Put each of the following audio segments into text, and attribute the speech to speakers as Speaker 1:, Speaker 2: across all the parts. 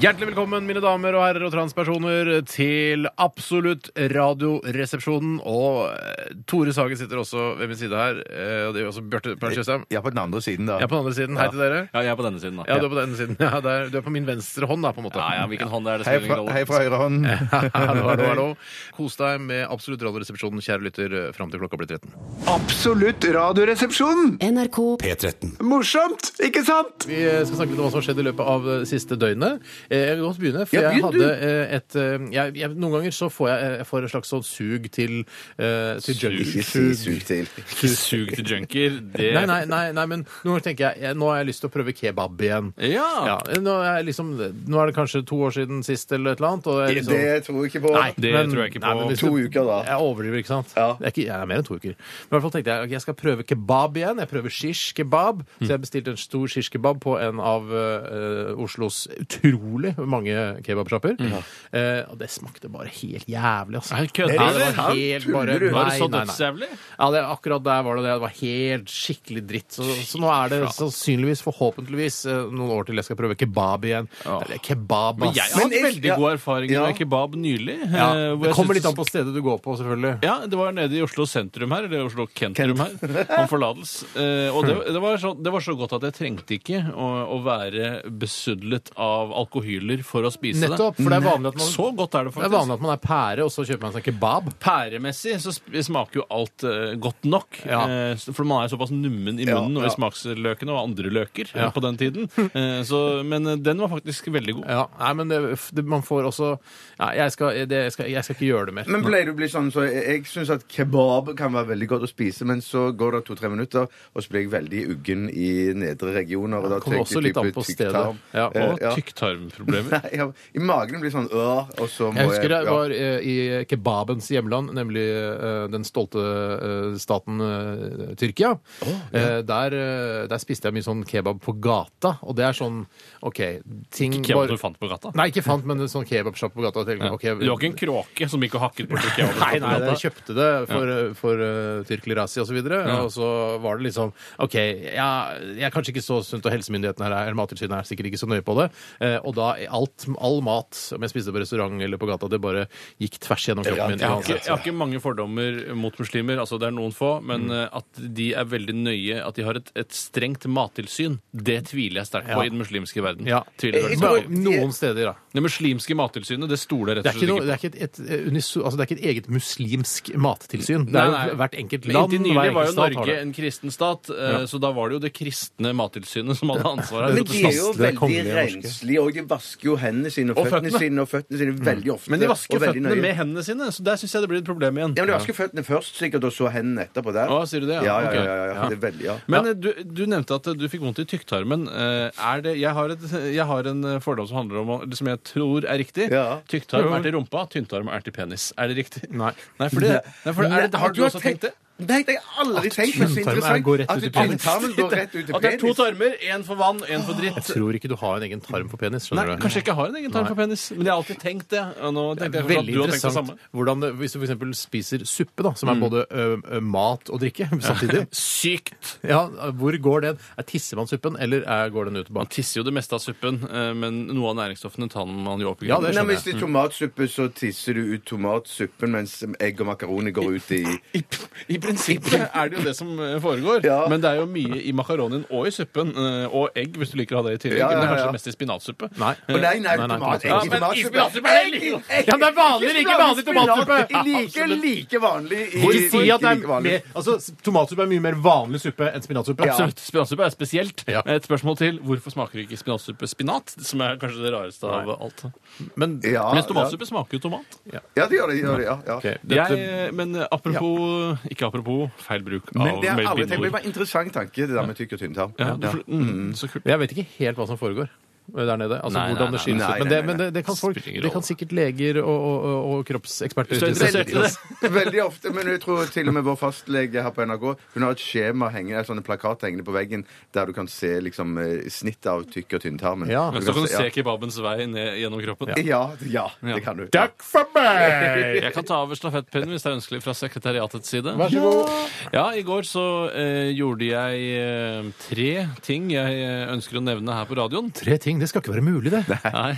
Speaker 1: Hjertelig velkommen, mine damer og herrer og transpersoner, til Absolutt Radioresepsjonen. Og eh, Tore Sagen sitter også ved min side her. eh, Og det gjør også Bjarte Perl Tjøstheim.
Speaker 2: Ja, på den andre siden, da.
Speaker 1: Jeg er på den andre siden. Hei til dere.
Speaker 3: Ja, jeg er på denne siden, da.
Speaker 1: Ja, du er på den siden. Ja, der, du er på min venstre hånd, da, på en måte.
Speaker 3: ja, ja, hvilken hånd er det
Speaker 2: Hei
Speaker 3: spiller
Speaker 2: fra,
Speaker 3: ingen rolle.
Speaker 2: hei fra høyre hånd.
Speaker 1: Hallo, hallo, hallo. Kos deg med Absolutt Radioresepsjonen, kjære lytter, fram til klokka blir 13.
Speaker 4: Absolutt radioresepsjon.
Speaker 5: NRK
Speaker 6: P13.
Speaker 4: Morsomt, ikke sant?
Speaker 1: Vi eh, skal snakke litt om hva som har skjedd i løpet av det siste døgnet. Eh, Jeg kan godt begynne. for
Speaker 2: Ja,
Speaker 1: jeg
Speaker 2: begynn du.
Speaker 1: hadde eh, et eh, jeg, jeg, Noen ganger så får jeg, jeg får et slags sånn sug til, eh, til junk
Speaker 2: Ikke si sug til.
Speaker 3: Ikke sug til junker. Det
Speaker 1: Nei, nei, nei, nei, men noen ganger tenker jeg, jeg nå har jeg lyst til å prøve kebab igjen.
Speaker 3: Ja.
Speaker 1: Ja, nå, er jeg liksom, nå er det kanskje to år siden sist eller et eller annet. Og jeg liksom,
Speaker 2: Det tror jeg ikke på.
Speaker 1: Nei,
Speaker 3: Det tror jeg ikke på.
Speaker 1: men hvis
Speaker 2: To
Speaker 1: du-
Speaker 2: uker, da.
Speaker 1: Jeg overdriver, ikke sant?
Speaker 2: Ja.
Speaker 1: Det er ikke, jeg er mer enn to uker. Men i hvert fall tenkte jeg ok, jeg skal prøve kebab igjen. Jeg prøver shish kebab. Så jeg bestilte en stor shish kebab på en av eh, Oslos utrolig mange kebabsjapper. Eh, og det smakte bare helt jævlig, altså.
Speaker 3: Nei, kødder
Speaker 1: Ja, det
Speaker 3: du?
Speaker 1: var helt bare
Speaker 2: Tuller du?
Speaker 3: Var det sånn så
Speaker 1: Nei, nei, nei.
Speaker 3: dødsjævlig?
Speaker 1: Ja, det, akkurat der var det det. Det var helt skikkelig dritt. Så, så nå er det sannsynligvis, forhåpentligvis, eh, noen år til jeg skal prøve kebab igjen. Eller kebab,
Speaker 3: Men
Speaker 1: ass.
Speaker 3: jeg har hatt
Speaker 2: Men jeg-
Speaker 3: veldig
Speaker 2: ja.
Speaker 3: god erfaring
Speaker 2: Ja.
Speaker 3: med kebab nylig.
Speaker 1: ja,
Speaker 3: eh, hvor
Speaker 1: det
Speaker 3: jeg
Speaker 1: kommer
Speaker 3: syntes-
Speaker 1: litt an på stedet du går på, selvfølgelig.
Speaker 3: Ja, det var nede i Oslo sentrum her, eller Oslo kentrum her, om forlatelse. Eh, og det, det, var så, det var så godt at jeg trengte ikke å, å være besudlet av alkohyler for å spise
Speaker 1: Nettopp, for det er vanlig at
Speaker 3: det. Mm.
Speaker 1: man,
Speaker 3: Så godt er det
Speaker 1: det er,
Speaker 3: faktisk.
Speaker 1: vanlig at man er pære, og så kjøper man seg kebab.
Speaker 3: Pæremessig så sp- smaker jo alt eh, godt nok.
Speaker 1: Ja.
Speaker 3: eh, s- for man er jo såpass nummen i
Speaker 2: Ja,
Speaker 3: munnen og
Speaker 2: ja.
Speaker 3: i smaksløkene og andre løker eh, på den tiden. Eh, så, men eh, den var faktisk veldig god.
Speaker 1: Ja, nei, men det, det, man får også ja, jeg, skal, det, jeg, skal, jeg skal ikke gjøre det mer.
Speaker 2: Men pleier du å bli sånn, så jeg, jeg syns at kebab kan være veldig godt å spise, men så går det to-tre minutter, og så blir jeg veldig uggen i nedre regioner. Og da
Speaker 1: Det kommer
Speaker 2: tenker
Speaker 1: også
Speaker 2: jeg
Speaker 1: litt
Speaker 2: type
Speaker 1: an på stedet.
Speaker 2: tykktarm.
Speaker 1: Ja,
Speaker 2: Eh,
Speaker 3: Og
Speaker 2: ja.
Speaker 3: tykktarmproblemer.
Speaker 2: Nei, ja, I magen blir sånn øh, og så må
Speaker 1: Jeg husker jeg
Speaker 2: ja.
Speaker 1: var eh, i kebabens hjemland, nemlig eh, den stolte eh, staten eh, Tyrkia. Eh, der, eh, der spiste jeg mye sånn kebab på gata, og det er sånn OK ting
Speaker 3: Kebab du fant på gata?
Speaker 1: Nei, ikke fant, men en sånn kebabsjappe på gata. Tenkte, ok,
Speaker 3: Du var ikke en kråke som gikk og hakket bort et kebab?
Speaker 1: Nei, nei, jeg kjøpte det for, for uh, Tyrklerasi og så videre, og så var det liksom OK, ja, jeg er kanskje ikke så sunt, og helsemyndighetene her er- eller Mattilsynet er sikkert ikke så nøye på det, eh, og da er alt, all mat som jeg spiste på restaurant eller på gata, det bare gikk tvers gjennom kroppen min.
Speaker 3: Jeg har, ikke,
Speaker 1: uansett.
Speaker 3: jeg har ikke mange fordommer mot muslimer, altså det er noen få, men
Speaker 1: Mm.
Speaker 3: eh, at de er veldig nøye, at de har et, et strengt mattilsyn, det tviler jeg sterkt på i den muslimske verden.
Speaker 1: Ja. Eh,
Speaker 3: Tviler jeg veldig
Speaker 1: Men
Speaker 3: sterkt på.
Speaker 1: Noen steder, da.
Speaker 3: Det muslimske mattilsynet, det stoler jeg
Speaker 1: Det
Speaker 3: rett
Speaker 1: er,
Speaker 3: og slett
Speaker 1: ikke noe,
Speaker 3: ikke
Speaker 1: det,
Speaker 3: på.
Speaker 1: er ikke et, et, eh, uniso, altså det er ikke et eget muslimsk mattilsyn. Det
Speaker 3: Nei,
Speaker 1: er
Speaker 3: nei.
Speaker 1: jo hvert enkelt
Speaker 3: Men
Speaker 1: land.
Speaker 3: Inntil
Speaker 1: hver
Speaker 3: nylig var jo
Speaker 1: enkelt stat har
Speaker 3: Norge
Speaker 1: det.
Speaker 3: en kristen stat, eh, så da var det jo det kristne mattilsynet som hadde ansvaret.
Speaker 2: Men de er jo
Speaker 1: Det er
Speaker 2: veldig
Speaker 1: kongelige norske.
Speaker 2: renslige, og de vasker jo hendene sine og
Speaker 3: Og
Speaker 2: føttene
Speaker 3: føttene. Mm.
Speaker 2: sine og føttene sine veldig ofte.
Speaker 3: Men de vasker
Speaker 2: og
Speaker 3: jo
Speaker 2: veldig
Speaker 3: føttene
Speaker 2: nøye.
Speaker 3: med hendene sine, så der syns jeg det blir et problem igjen.
Speaker 2: Ja, men De vasker føttene først, sikkert, og så hendene etterpå der.
Speaker 3: Å, sier du det?
Speaker 2: Ja,
Speaker 3: Ja,
Speaker 2: ja,
Speaker 3: ok.
Speaker 2: ja. ja, ja. Det er veldig, ja.
Speaker 3: Men eh, du, du nevnte at eh, du fikk vondt i tykktarmen. Eh, Er det, jeg, har et, jeg har en eh, fordom som handler om å- som jeg tror er riktig.
Speaker 2: Ja.
Speaker 3: Tykktarm er til rumpa, tynntarm er til penis. Er det riktig?
Speaker 1: Nei.
Speaker 3: Nei, fordi, nei, for er det, har du også tenkt det?
Speaker 2: Nei, det har jeg aldri tenkt. Men så
Speaker 1: tynntarmen
Speaker 2: interessant
Speaker 1: går rett
Speaker 2: at
Speaker 1: ut i penis.
Speaker 2: tynntarmen går rett ut i
Speaker 3: At det er to
Speaker 2: penis.
Speaker 3: tarmer, én for vann, én for dritt.
Speaker 1: Jeg tror ikke du har en egen tarm for penis.
Speaker 3: Nei,
Speaker 1: skjønner du?
Speaker 3: kanskje jeg ikke har en egen tarm for penis, men jeg har alltid tenkt det. Og nå tenkte jeg kanskje at
Speaker 1: Veldig
Speaker 3: du har tenkt det samme. Mm.
Speaker 1: interessant hvordan det, hvis du f.eks. spiser suppe, da, som er både ø, ø, mat og drikke samtidig
Speaker 3: Sykt!
Speaker 1: ja, Hvor går den? Er tisser man suppen, eller er, går den ut
Speaker 3: Man
Speaker 1: bak?
Speaker 3: tisser jo det meste av suppen, eh, men noe av næringsstoffene tar man jo opp i Mm.
Speaker 1: Ja, det
Speaker 2: Nei,
Speaker 1: skjønner
Speaker 2: men Hvis det er tomatsuppe, så tisser du ut tomatsuppen, mens egg og makaroni går ut i
Speaker 3: I, I prinsippet er det jo det som eh, foregår,
Speaker 2: Ja.
Speaker 3: men det er jo mye i makaronien og i suppen. eh, Og egg, hvis du liker å ha det i tillegg.
Speaker 2: Ja, ja,
Speaker 3: Men det er
Speaker 2: ja.
Speaker 3: kanskje mest i spinatsuppe. Eh,
Speaker 1: Nei.
Speaker 2: Å, Nei, nei,
Speaker 1: Nei, nei,
Speaker 2: tomat,
Speaker 1: tomat-
Speaker 2: egg
Speaker 1: Ja,
Speaker 2: i
Speaker 3: men i
Speaker 2: tomatsuppe.
Speaker 3: spinatsuppe er det
Speaker 2: Egg i-
Speaker 3: like-
Speaker 2: egg i-
Speaker 1: Ja, men det er vanlig,
Speaker 2: Ikke
Speaker 1: ikke vanlig
Speaker 2: spinat.
Speaker 1: tomatsuppe!
Speaker 2: Like, like vanlig i
Speaker 1: Hvor si at det
Speaker 2: like
Speaker 1: er
Speaker 2: vanlig.
Speaker 1: mer, altså, Tomatsuppe er mye mer vanlig suppe enn spinatsuppe.
Speaker 3: Absolutt. Spinatsuppe er spesielt.
Speaker 1: Ja.
Speaker 3: Et spørsmål til. Hvorfor smaker ikke spinatsuppe spinat? Som er kanskje det rareste av alt.
Speaker 1: Men
Speaker 2: Ja,
Speaker 3: Mens tomatsuppe smaker jo tomat.
Speaker 2: Ja, det gjør det. gjør det ja, ja.
Speaker 1: ok, dette,
Speaker 3: Jeg, eh, men apropos Ikke apropos feil bruk av
Speaker 2: Men det er aldri tenkt på. Det
Speaker 3: bindord.
Speaker 2: var en interessant tanke, det der med tykk og tynn tarm.
Speaker 3: Ja, du- mm, så kult.
Speaker 1: jeg vet ikke helt hva som foregår. der nede? Altså
Speaker 3: Nei, nei,
Speaker 1: hvordan det
Speaker 3: nei,
Speaker 1: skilles
Speaker 2: nei,
Speaker 1: ut. Men
Speaker 2: nei,
Speaker 1: det,
Speaker 2: nei,
Speaker 1: men det, det, kan folk,
Speaker 3: Spiller ingen
Speaker 1: det kan
Speaker 3: rolle.
Speaker 1: sikkert leger og, og, og- og kroppseksperter
Speaker 3: Så interessert i det.
Speaker 2: Veldig ofte, men jeg tror til og med vår fastlege her på NRK Hun har et skjema hengende, eller sånne plakat hengende på veggen der du kan se liksom eh, snitt av tykk- og tynntarmen.
Speaker 1: Ja.
Speaker 3: Men
Speaker 2: Du
Speaker 3: så kan du
Speaker 2: ja.
Speaker 3: se kebabens vei ned gjennom kroppen.
Speaker 2: Ja, ja, det kan du.
Speaker 1: Takk for meg!
Speaker 3: Jeg kan ta over stafettpinnen hvis det er ønskelig fra sekretariatets side.
Speaker 1: Vær så god.
Speaker 3: Ja, i går så eh, gjorde jeg eh, tre ting jeg eh, ønsker å nevne her på radioen.
Speaker 1: Tre ting. Det skal ikke være mulig, det.
Speaker 3: Nei.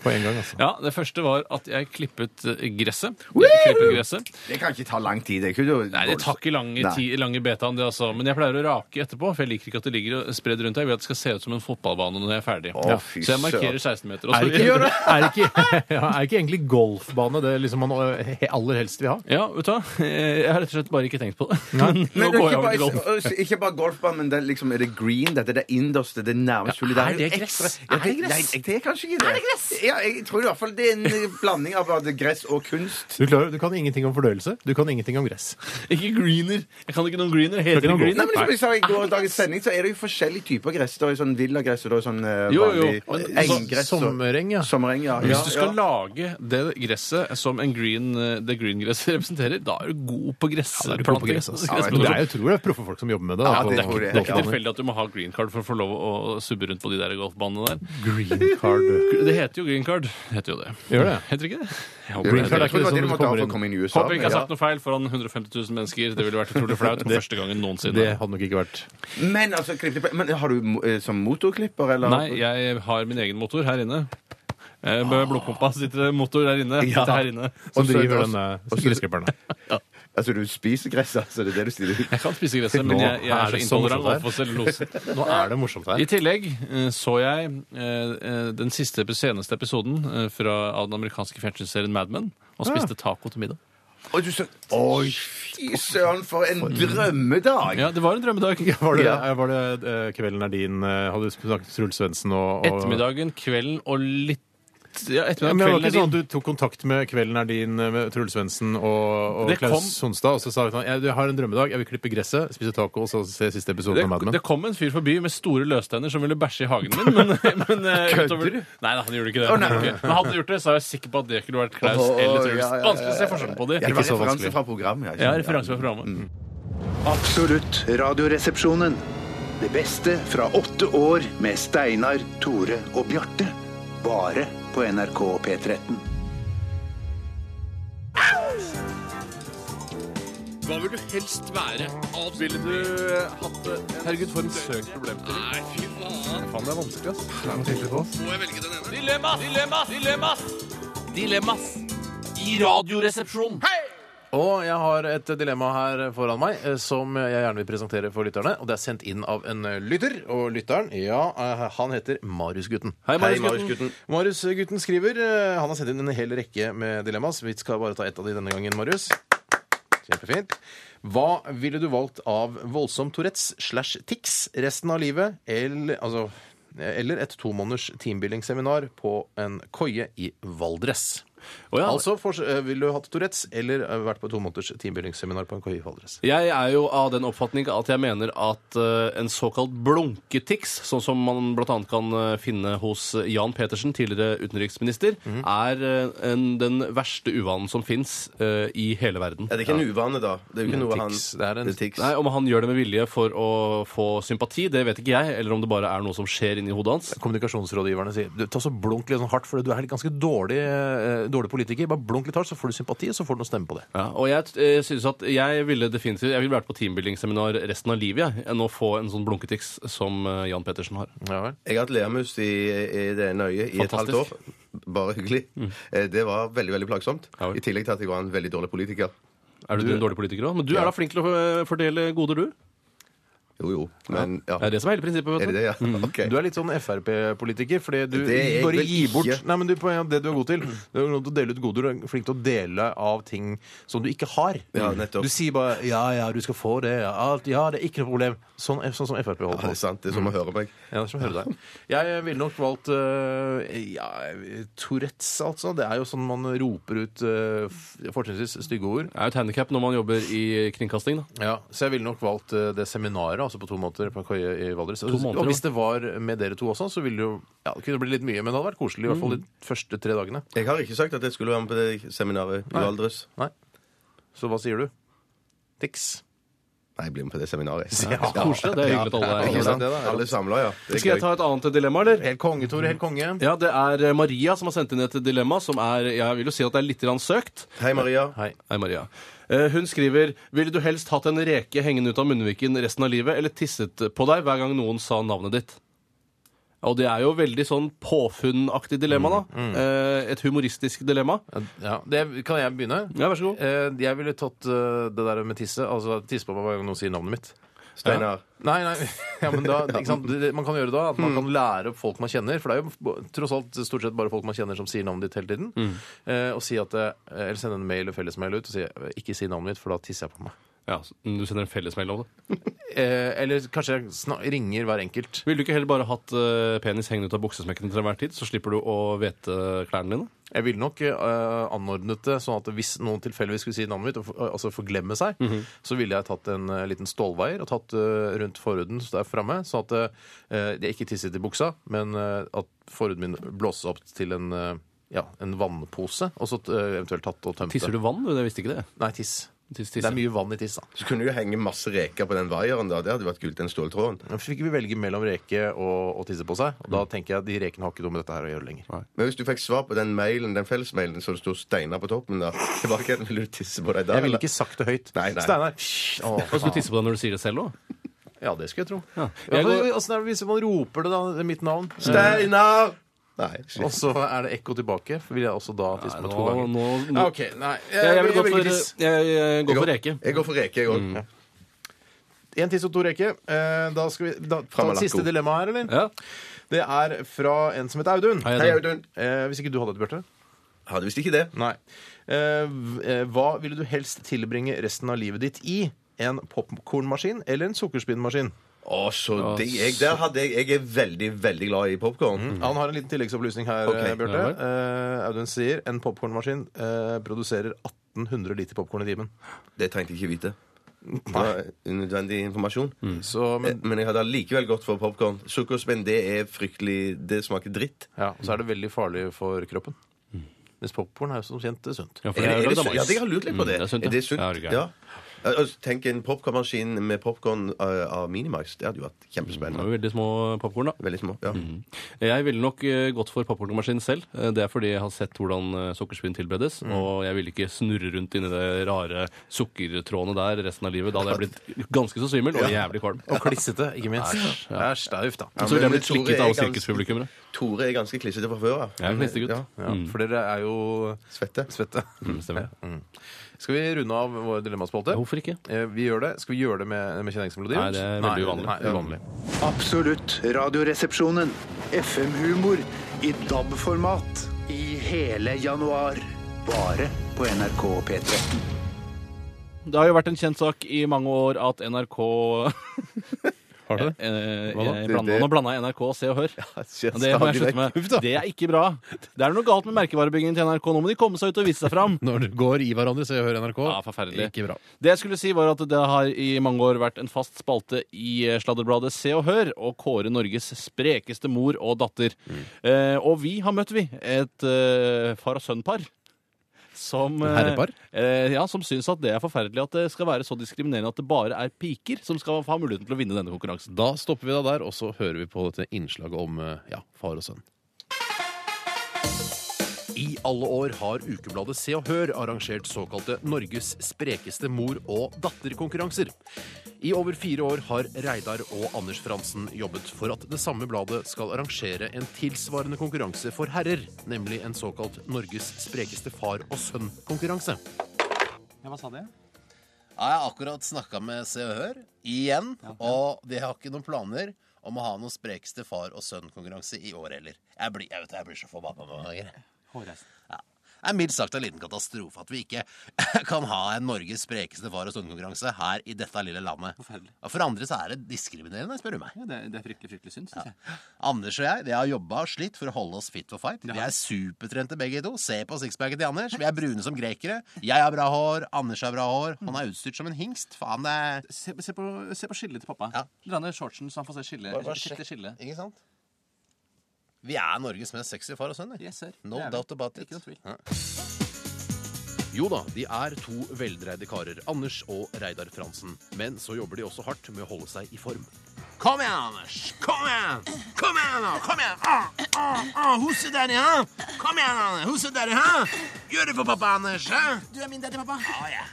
Speaker 1: På en gang, altså.
Speaker 3: Ja, Det første var at jeg klippet eh, gresset. Jeg klipper gresset.
Speaker 2: Det kan ikke ta lang tid. Det, kunne jo-
Speaker 3: Nei, det tar ikke lange,
Speaker 2: Nei.
Speaker 3: ti, lange betaen, det altså. Men jeg pleier å rake etterpå, for jeg liker ikke at det ligger spredd rundt her. Jeg vil at det skal se ut som en fotballbane når jeg er ferdig.
Speaker 2: Å,
Speaker 3: Ja.
Speaker 2: fy
Speaker 3: Så jeg markerer 16 meter. og så-
Speaker 1: Er ikke, er, ikke, ja, er ikke egentlig golfbane det liksom man eh, he- aller helst vil ha?
Speaker 3: Ja, vet du hva? Eh, Jeg har rett og slett bare ikke tenkt på det. Men
Speaker 2: Men det er
Speaker 3: nå går jeg
Speaker 2: ikke,
Speaker 3: over til golf.
Speaker 2: bare, øh, ikke bare golfbane, men det er, liksom, er det green? Dette det er innerst, det er nærmest mulig.
Speaker 3: Ja,
Speaker 2: Der
Speaker 3: er
Speaker 2: jo
Speaker 3: det
Speaker 2: ekstra-
Speaker 3: gress?
Speaker 2: Ja,
Speaker 3: Er det
Speaker 2: Nei,
Speaker 3: gress?
Speaker 2: det er kanskje ikke det. Er det gress? Ja, jeg tror i hvert fall det er en eh, blanding av både gress og kunst.
Speaker 1: Du, klarer, du kan ingenting om fordøyelse. Du kan ingenting om gress.
Speaker 3: Ikke greener. Jeg kan ikke noen greener. Heter
Speaker 1: Kan
Speaker 2: Nei,
Speaker 3: det
Speaker 1: ikke noen
Speaker 3: greener?
Speaker 2: men som jeg sa i går dagens sending, så er det jo forskjellige typer gress. Det er jo sånn villagress og det er sånn eh,
Speaker 3: Jo, jo,
Speaker 2: vanlig
Speaker 3: men så-
Speaker 2: enggress. og-
Speaker 1: Sommereng, ja.
Speaker 2: Sommereng, ja.
Speaker 3: Hvis
Speaker 2: Ja,
Speaker 3: du skal
Speaker 2: ja.
Speaker 3: lage det gresset som en green, eh, det greengresset representerer, da er du god på gress.
Speaker 1: Da er du god på gress, altså. Men det er jo, tror jeg, proffe folk som jobber med det. da,
Speaker 2: Ja,
Speaker 1: på
Speaker 2: det tror jeg.
Speaker 3: Det er ikke
Speaker 1: golfbaner.
Speaker 3: tilfeldig at du må ha green card for å få lov å subbe rundt på de der golfbanene der.
Speaker 1: Green card.
Speaker 3: Det heter jo green card. Heter jo det.
Speaker 1: Gjør det?
Speaker 3: Heter ikke det? Jeg
Speaker 2: Jeg
Speaker 3: håper
Speaker 1: Green
Speaker 2: tror
Speaker 3: det.
Speaker 1: card er
Speaker 2: det
Speaker 1: ikke det
Speaker 2: var det
Speaker 1: som
Speaker 2: du måtte ha
Speaker 1: kommer
Speaker 2: for å
Speaker 1: inn.
Speaker 2: komme inn i USA.
Speaker 3: Håper jeg ikke jeg har sagt noe feil foran 150 000 mennesker. Det ville vært utrolig flaut for første gangen
Speaker 1: Det
Speaker 3: noensinne.
Speaker 1: hadde nok ikke vært
Speaker 2: Ja. Men altså, klipp- men har du mo- eh, som motorklipper, eller?
Speaker 3: Nei, jeg har min egen motor her inne. Eh, Med blodpumpa sitter det motor der inne. Sitter her inne.
Speaker 1: Som
Speaker 2: så-
Speaker 1: driver
Speaker 2: og-
Speaker 1: denne
Speaker 2: og så-
Speaker 1: gressklipperen.
Speaker 2: Altså, du spiser gress, altså. Det er det du sier.
Speaker 3: Jeg kan spise gresset, men
Speaker 1: Nå
Speaker 3: jeg, jeg
Speaker 1: er
Speaker 3: er så
Speaker 1: det så morsomt
Speaker 3: intolerant
Speaker 1: her.
Speaker 3: overfor cellulose.
Speaker 1: Nå er det morsomt her.
Speaker 3: I tillegg eh, så jeg eh, eh, den siste, seneste episoden eh, fra, av den amerikanske fjernsynsserien Mad Men, og spiste taco til middag.
Speaker 2: Og du så Oi, fy søren, for en drømmedag!
Speaker 3: Ja, det var en drømmedag.
Speaker 1: Var det,
Speaker 2: Ja.
Speaker 1: var det eh, Kvelden er din eh, Hadde du snakket Truls Svendsen og, og
Speaker 3: Ettermiddagen, kvelden og litt Ja,
Speaker 1: Ja, men
Speaker 3: ettermiddagen, kvelden er din.
Speaker 1: det var ikke sånn at du tok kontakt med Kvelden er din eh, med Truls Svendsen og, og
Speaker 3: Det kom-
Speaker 1: Klaus Sonstad, og så sa han at jeg har en drømmedag, jeg vil klippe gresset, spise taco og så se siste episode
Speaker 3: Det,
Speaker 1: av Mad Men.
Speaker 3: det kom en fyr forbi med store løstenner som ville bæsje i hagen min, men, men eh,
Speaker 2: Kødder
Speaker 3: utover,
Speaker 2: du?
Speaker 3: Nei, nei, han gjorde ikke det. Han gjorde ikke. Men hadde han gjort det, så er jeg sikker på at det kunne vært Klaus
Speaker 2: Åh,
Speaker 3: eller
Speaker 2: ja,
Speaker 3: Truls.
Speaker 2: ja, ja, ja.
Speaker 3: Vanskelig å se forskjell på de.
Speaker 2: Ja, det var
Speaker 1: Ikke så vanskelig.
Speaker 2: referanse fra programmet.
Speaker 3: Ja, referanse fra
Speaker 2: Mm.
Speaker 3: programmet.
Speaker 4: Absolutt Radioresepsjonen. Det beste fra åtte år med Steinar, Tore og Bjarte. Bare på NRK P13.
Speaker 3: Hva vil du helst være? Ville du eh, hatt det? Herregud, for en søk problemstilling. Nei, fy faen. Faen, det er vanskelig, ass. Må jeg velge den ene? Dilemmas! Dilemmas! Dilemmas! Dilemmas! I radioresepsjonen.
Speaker 1: Og jeg har et dilemma her foran meg eh, som jeg gjerne vil presentere for lytterne. Og det er sendt inn av en eh, lytter. Og lytteren, ja, eh, han heter Mariusgutten. Hei, Mariusgutten. Mariusgutten skriver eh, Han har sendt inn en hel rekke med dilemmas. Vi skal bare ta ett av de denne gangen, Marius. Kjempefint. Hva ville du valgt av voldsom Tourettes slash tics resten av livet? Eller, altså, eller et tomåneders teambuildingsseminar på en koie i Valdres?
Speaker 3: ja.
Speaker 1: Altså, for, eh, ville du hatt Tourettes eller eh, vært på to måneders teambuildingsseminar på en KI i Valdres?
Speaker 3: Jeg er jo av den oppfatning at jeg mener at eh, en såkalt blunketics, sånn som man bl.a. kan eh, finne hos Jan Petersen, tidligere utenriksminister, er eh, en, den verste uvanen som fins i hele verden.
Speaker 7: Er det ikke en uvane, da? Det er jo ikke noe han
Speaker 1: Tics, det er en-
Speaker 7: det er tics.
Speaker 3: Nei, Om han gjør det med vilje for å få sympati, det vet ikke jeg. Eller om det bare er noe som skjer inni hodet hans.
Speaker 1: Kommunikasjonsrådgiverne sier du, ta så blunk litt sånn hardt, for du er ganske dårlig, eh, dårlig politiker. Bare blunk litt hardt, så får du sympati, og så får du noe stemme på det.
Speaker 3: Ja, og jeg eh, synes at jeg ville definitivt Jeg ville vært på teambuildingsseminar resten av livet jeg, enn å få en sånn blunketics som eh, Jan Petersen har.
Speaker 1: Ja vel.
Speaker 7: Jeg har hatt leamus i, i det ene øyet i et halvt år.
Speaker 3: Fantastisk.
Speaker 7: Bare hyggelig. Eh, Det var veldig veldig plagsomt.
Speaker 3: Ja vel.
Speaker 7: I tillegg til at jeg var en veldig dårlig politiker.
Speaker 3: Er du, en dårlig politiker òg? Men du er da flink til å eh, fordele goder, du.
Speaker 7: Jo, jo. Men ja.
Speaker 3: Det er det som er hele prinsippet. vet
Speaker 7: Er
Speaker 3: du. Mm.
Speaker 7: det det, ja? Ok.
Speaker 1: Du er litt sånn Frp-politiker, fordi du
Speaker 7: Det er jeg
Speaker 1: bare
Speaker 7: vel
Speaker 1: gir bort
Speaker 7: ikke.
Speaker 1: Nei, men du, på en- det du er god til. Du er god til å dele ut goder. Du er flink til å dele av ting som du ikke har.
Speaker 7: Ja, nettopp.
Speaker 1: Du sier bare 'ja, ja, du skal få det', ja, alt, ja det er ikke noe problem. Sånn, sånn som Frp
Speaker 7: Ja, det
Speaker 1: holder på. Mm.
Speaker 7: er sant. Det er som å høre meg.
Speaker 1: Ja, det er som å høre deg. Jeg ville nok valgt øh, ja, Tourettes, altså. Det er jo sånn man roper ut øh, f- fortrinnsvis stygge ord.
Speaker 3: Det er jo et handikap når man jobber i eh, kringkasting. da.
Speaker 1: Ja, Så jeg ville nok valgt øh, det seminaret, altså på to måneder på Køye i Valdres.
Speaker 3: måneder,
Speaker 1: og hvis det var med dere to også, så ville det jo ja, det kunne bli litt mye, men det hadde vært koselig i hvert fall
Speaker 3: Mm.
Speaker 1: de første tre dagene.
Speaker 2: Jeg har ikke sagt at jeg skulle være med på det seminaret i
Speaker 1: Nei.
Speaker 2: Valdres.
Speaker 1: Nei. Så hva sier du? Tix.
Speaker 2: Nei, jeg blir med på det seminaret.
Speaker 1: Ja, koselig. Det er hyggelig at alle er
Speaker 2: Ikke
Speaker 1: med.
Speaker 2: sant? Alle samla, ja. Det er
Speaker 3: Skal jeg
Speaker 2: gøy.
Speaker 3: ta et annet dilemma, eller?
Speaker 1: Helt konge, Tore. Helt konge.
Speaker 3: Ja, det er eh, Maria som har sendt inn et dilemma som er Jeg vil jo si at det er litt grann søkt.
Speaker 2: Hei, Maria.
Speaker 1: Hei.
Speaker 3: Hei, Maria. Eh, Hun skriver Ville du helst hatt en reke hengende ut av munnviken resten av livet, eller tisset på deg hver gang noen sa navnet ditt? Og det er jo veldig sånn påfunnaktig dilemma, da.
Speaker 1: Mm,
Speaker 3: Eh, Et humoristisk dilemma.
Speaker 1: Ja, det, kan jeg begynne?
Speaker 3: Ja, vær så god.
Speaker 1: Eh, jeg ville tatt eh, det der med tisse. Altså tisse på meg hver gang noen sier navnet mitt.
Speaker 2: Steinar.
Speaker 1: Nei, nei, ja, men da, ikke sant? Det- det Man kan gjøre da at man
Speaker 3: Hmm.
Speaker 1: kan lære opp folk man kjenner. For det er jo bo- tross alt stort sett bare folk man kjenner som sier navnet ditt hele tiden.
Speaker 3: Mm.
Speaker 1: Eh, og si at, eh, Eller sende en mail eller fellesmail ut og si eh, ikke si navnet mitt, for da tisser jeg på meg.
Speaker 3: Ja, så Du sender en fellesmail om det.
Speaker 1: Eh, eller kanskje jeg sna ringer hver enkelt.
Speaker 3: Ville du ikke heller bare hatt eh, penis hengende ut av buksesmekken til enhver tid, så slipper du å vete klærne dine?
Speaker 1: Jeg ville nok eh, anordnet det sånn at hvis noen tilfeldigvis skulle si navnet mitt, og for, altså forglemme seg,
Speaker 3: Mhm.
Speaker 1: så ville jeg tatt en eh, liten stålveier og tatt eh, rundt forhuden der framme, sånn at eh, jeg ikke tisset i buksa, men eh, at forhuden min blåses opp til en, eh, ja, en vannpose, og så eh, eventuelt tatt og tømt
Speaker 3: Tisser
Speaker 1: det.
Speaker 3: du vann? Jeg visste ikke det.
Speaker 1: Nei, tiss.
Speaker 3: Tiss,
Speaker 1: Det
Speaker 3: tiss,
Speaker 1: er
Speaker 3: ja.
Speaker 1: mye vann i tiss, da.
Speaker 2: Så kunne du jo henge masse reker på den vaieren. da. Det hadde vært kult, den ståltråden.
Speaker 1: Men fikk vi velge mellom reke og, og tisse på seg, og da tenker jeg at de rekene har ikke noe med dette her å gjøre lenger.
Speaker 2: Men hvis du fikk svar på den mailen, den fellesmailen så det sto Steinar på toppen da, tilbake igjen, vil du tisse på deg da?
Speaker 1: Jeg
Speaker 2: eller?
Speaker 1: ville ikke sagt det høyt.
Speaker 2: Nei, nei.
Speaker 1: Steinar! hysj! Å,
Speaker 3: Og skal du tisse på deg når du sier det selv òg?
Speaker 1: Ja, det skulle jeg tro.
Speaker 3: Ja.
Speaker 1: Ja,
Speaker 3: Jeg
Speaker 1: men
Speaker 3: går-
Speaker 1: åssen er det hvis man roper det, da? Mitt navn.
Speaker 2: Steinar! Nei.
Speaker 1: Eh, Og så er det ekko tilbake. Vil jeg også da tisse på to
Speaker 3: nå-
Speaker 1: ganger?
Speaker 3: nå-
Speaker 1: Ja, OK. Nei.
Speaker 3: Jeg, jeg, vil gå
Speaker 1: velger
Speaker 3: for,
Speaker 1: tiss.
Speaker 3: jeg, jeg går for reke. Mm.
Speaker 2: Jeg går for reke, jeg òg.
Speaker 1: En tiss og to reke. Eh, Da skal vi da, ta
Speaker 2: Fram med
Speaker 1: et siste
Speaker 2: lakko.
Speaker 1: dilemma her, eller?
Speaker 3: Ja.
Speaker 1: Det er fra en som heter Audun.
Speaker 3: Hei,
Speaker 2: Hei,
Speaker 3: Audun.
Speaker 2: Audun.
Speaker 1: Eh, hvis ikke du hadde et, Bjarte?
Speaker 2: Hadde visst ikke det.
Speaker 1: Nei. Eh, v- eh, hva ville du helst tilbringe resten av livet ditt i? En popkornmaskin eller en sukkerspinnmaskin?
Speaker 2: Å, så digg. Jeg, der hadde jeg, jeg er veldig, veldig glad i popkorn.
Speaker 1: Han Mm. har en liten tilleggsopplysning her,
Speaker 2: Ok.
Speaker 1: eh, Bjarte.
Speaker 3: Ja vel.
Speaker 1: Eh, Audun sier en popkornmaskin eh, produserer 1800 liter popkorn i timen.
Speaker 2: Det trengte jeg ikke vite. Det var unødvendig informasjon.
Speaker 3: Mm.
Speaker 1: Så,
Speaker 2: Eh,
Speaker 1: men,
Speaker 2: Men jeg hadde allikevel gått for popkorn. Sukkerspinn, det er fryktelig Det smaker dritt.
Speaker 1: ja, og så er det veldig farlig for kroppen. Mens popkorn er jo som kjent sunt.
Speaker 3: Ja, for
Speaker 2: Er det,
Speaker 3: jeg har
Speaker 2: er det,
Speaker 3: lagd av
Speaker 2: sunt?
Speaker 3: mais.
Speaker 2: ja, jeg har lurt litt på det.
Speaker 3: Mm, det er sunt, ja.
Speaker 2: Er det
Speaker 3: Ja, det
Speaker 2: sunt?
Speaker 3: er gøy.
Speaker 2: Ja. Altså, Tenk en popkornmaskin med popkorn av Minimax. Det hadde jo vært
Speaker 3: Det
Speaker 2: kjempespennende.
Speaker 3: var jo veldig små popkorn, da. Mm.
Speaker 2: Veldig små. Ja.
Speaker 3: Jeg ville nok eh, gått for popkornmaskin selv. Eh, Det er fordi jeg har sett hvordan eh, sukkerspinn tilberedes, og jeg ville ikke snurre rundt inni det rare sukkertrådene der resten av livet. Da hadde jeg blitt ganske så svimmel og jævlig kvalm.
Speaker 1: Og klissete, ikke minst. Æsj, det er uff, da.
Speaker 3: Så
Speaker 2: men
Speaker 3: ville jeg blitt
Speaker 2: Tore
Speaker 3: slikket
Speaker 2: er
Speaker 3: av
Speaker 2: ganske-
Speaker 3: sirkuspublikummere.
Speaker 2: Tore er ganske klissete fra før av.
Speaker 3: Jeg er en knestegutt.
Speaker 2: Ja,
Speaker 1: Ja, for dere er jo
Speaker 2: svette.
Speaker 1: svette.
Speaker 3: Mm, stemmer.
Speaker 1: Skal vi runde av vår dilemmaspalte?
Speaker 3: Hvorfor ikke?
Speaker 1: Eh, Vi gjør det. Skal vi gjøre det med, med kjenningsmelodi?
Speaker 3: Nei, det er veldig uvanlig.
Speaker 1: Nei, uvanlig.
Speaker 4: Absolutt radioresepsjonen. FM-humor i DAB-format i hele januar. Bare på NRK P13.
Speaker 8: Det har jo vært en kjent sak i mange år at NRK
Speaker 1: Har du det?
Speaker 8: eh,
Speaker 1: Hva da?
Speaker 8: eh,
Speaker 2: Det-
Speaker 8: blanda-
Speaker 2: det-
Speaker 8: Nå blanda jeg NRK og Se og Hør. Og Det må jeg slutte med.
Speaker 1: Uff da.
Speaker 8: Det er ikke bra. Det er noe galt med merkevarebyggingen til NRK. Nå må de komme seg ut og vise seg fram.
Speaker 1: Når du går i hverandre, så jeg hører NRK.
Speaker 8: Ja, forferdelig.
Speaker 1: Ikke bra.
Speaker 8: Det jeg skulle si var at det har i mange år vært en fast spalte i eh, sladderbladet Se og Hør å kåre Norges sprekeste mor og datter.
Speaker 1: Mm.
Speaker 8: Eh, og vi har møtt, vi, et eh, far og sønn-par. Som, eh,
Speaker 1: Herrepar?
Speaker 8: Eh, ja, som syns at det er forferdelig at det skal være så diskriminerende at det bare er piker som skal ha muligheten til å vinne denne konkurransen.
Speaker 1: Da stopper vi deg der, og så hører vi på dette innslaget om eh, ja, far og sønn. I alle år har ukebladet Se og Hør arrangert såkalte Norges sprekeste mor- og datterkonkurranser. I over fire år har Reidar og Anders Fransen jobbet for at det samme bladet skal arrangere en tilsvarende konkurranse for herrer, nemlig en såkalt Norges sprekeste far og sønn-konkurranse. Ja, jeg har akkurat snakka med Se og Hør igjen, og de har ikke noen planer om å ha noen sprekeste far og sønn-konkurranse i år heller. Jeg blir, jeg vet, det, jeg blir så forbanna noen ganger. Ja.
Speaker 7: er mildt sagt en liten katastrofe at vi ikke kan ha en Norges sprekeste far- og sønn-konkurranse her i dette lille landet.
Speaker 9: Forferdelig.
Speaker 7: Og For andre så er det diskriminerende, spør du meg.
Speaker 9: Ja, det, er- det er fryktelig, fryktelig synd, synes jeg.
Speaker 7: Anders og jeg vi har jobba og slitt for å holde oss fit for fight. Vi er supertrente begge to. Se på sixpacken til Anders. Vi er brune som grekere. Jeg har bra hår, Anders har bra hår. Han er utstyrt som en hingst. Faen, det er
Speaker 9: Se, se, på, se på skillet til pappa.
Speaker 7: Ja.
Speaker 9: Dra ned shortsen, så han får se skillet.
Speaker 7: Bare- bare
Speaker 9: Riktig
Speaker 7: sjekk.
Speaker 9: skille.
Speaker 7: Ikke sant? Vi er Norges mest sexy far og sønn. jeg.
Speaker 9: Yes, sir.
Speaker 7: No
Speaker 9: Det er vi.
Speaker 7: doubt about it.
Speaker 9: Ikke noe tvil.
Speaker 7: Ja.
Speaker 1: Jo da, de er to veldreide karer, Anders og Reidar Fransen. Men så jobber de også hardt med å holde seg i form.
Speaker 7: Kom igjen, Anders! Kom igjen! Kom igjen, nå! Kom igjen! Ah, ah, ah. Husse daddy, hæ? Kom igjen, Anders! Husse daddy, hæ? Gjør det for pappa, Anders! hæ?
Speaker 10: Du er min daddy, pappa.
Speaker 7: Ah, ja.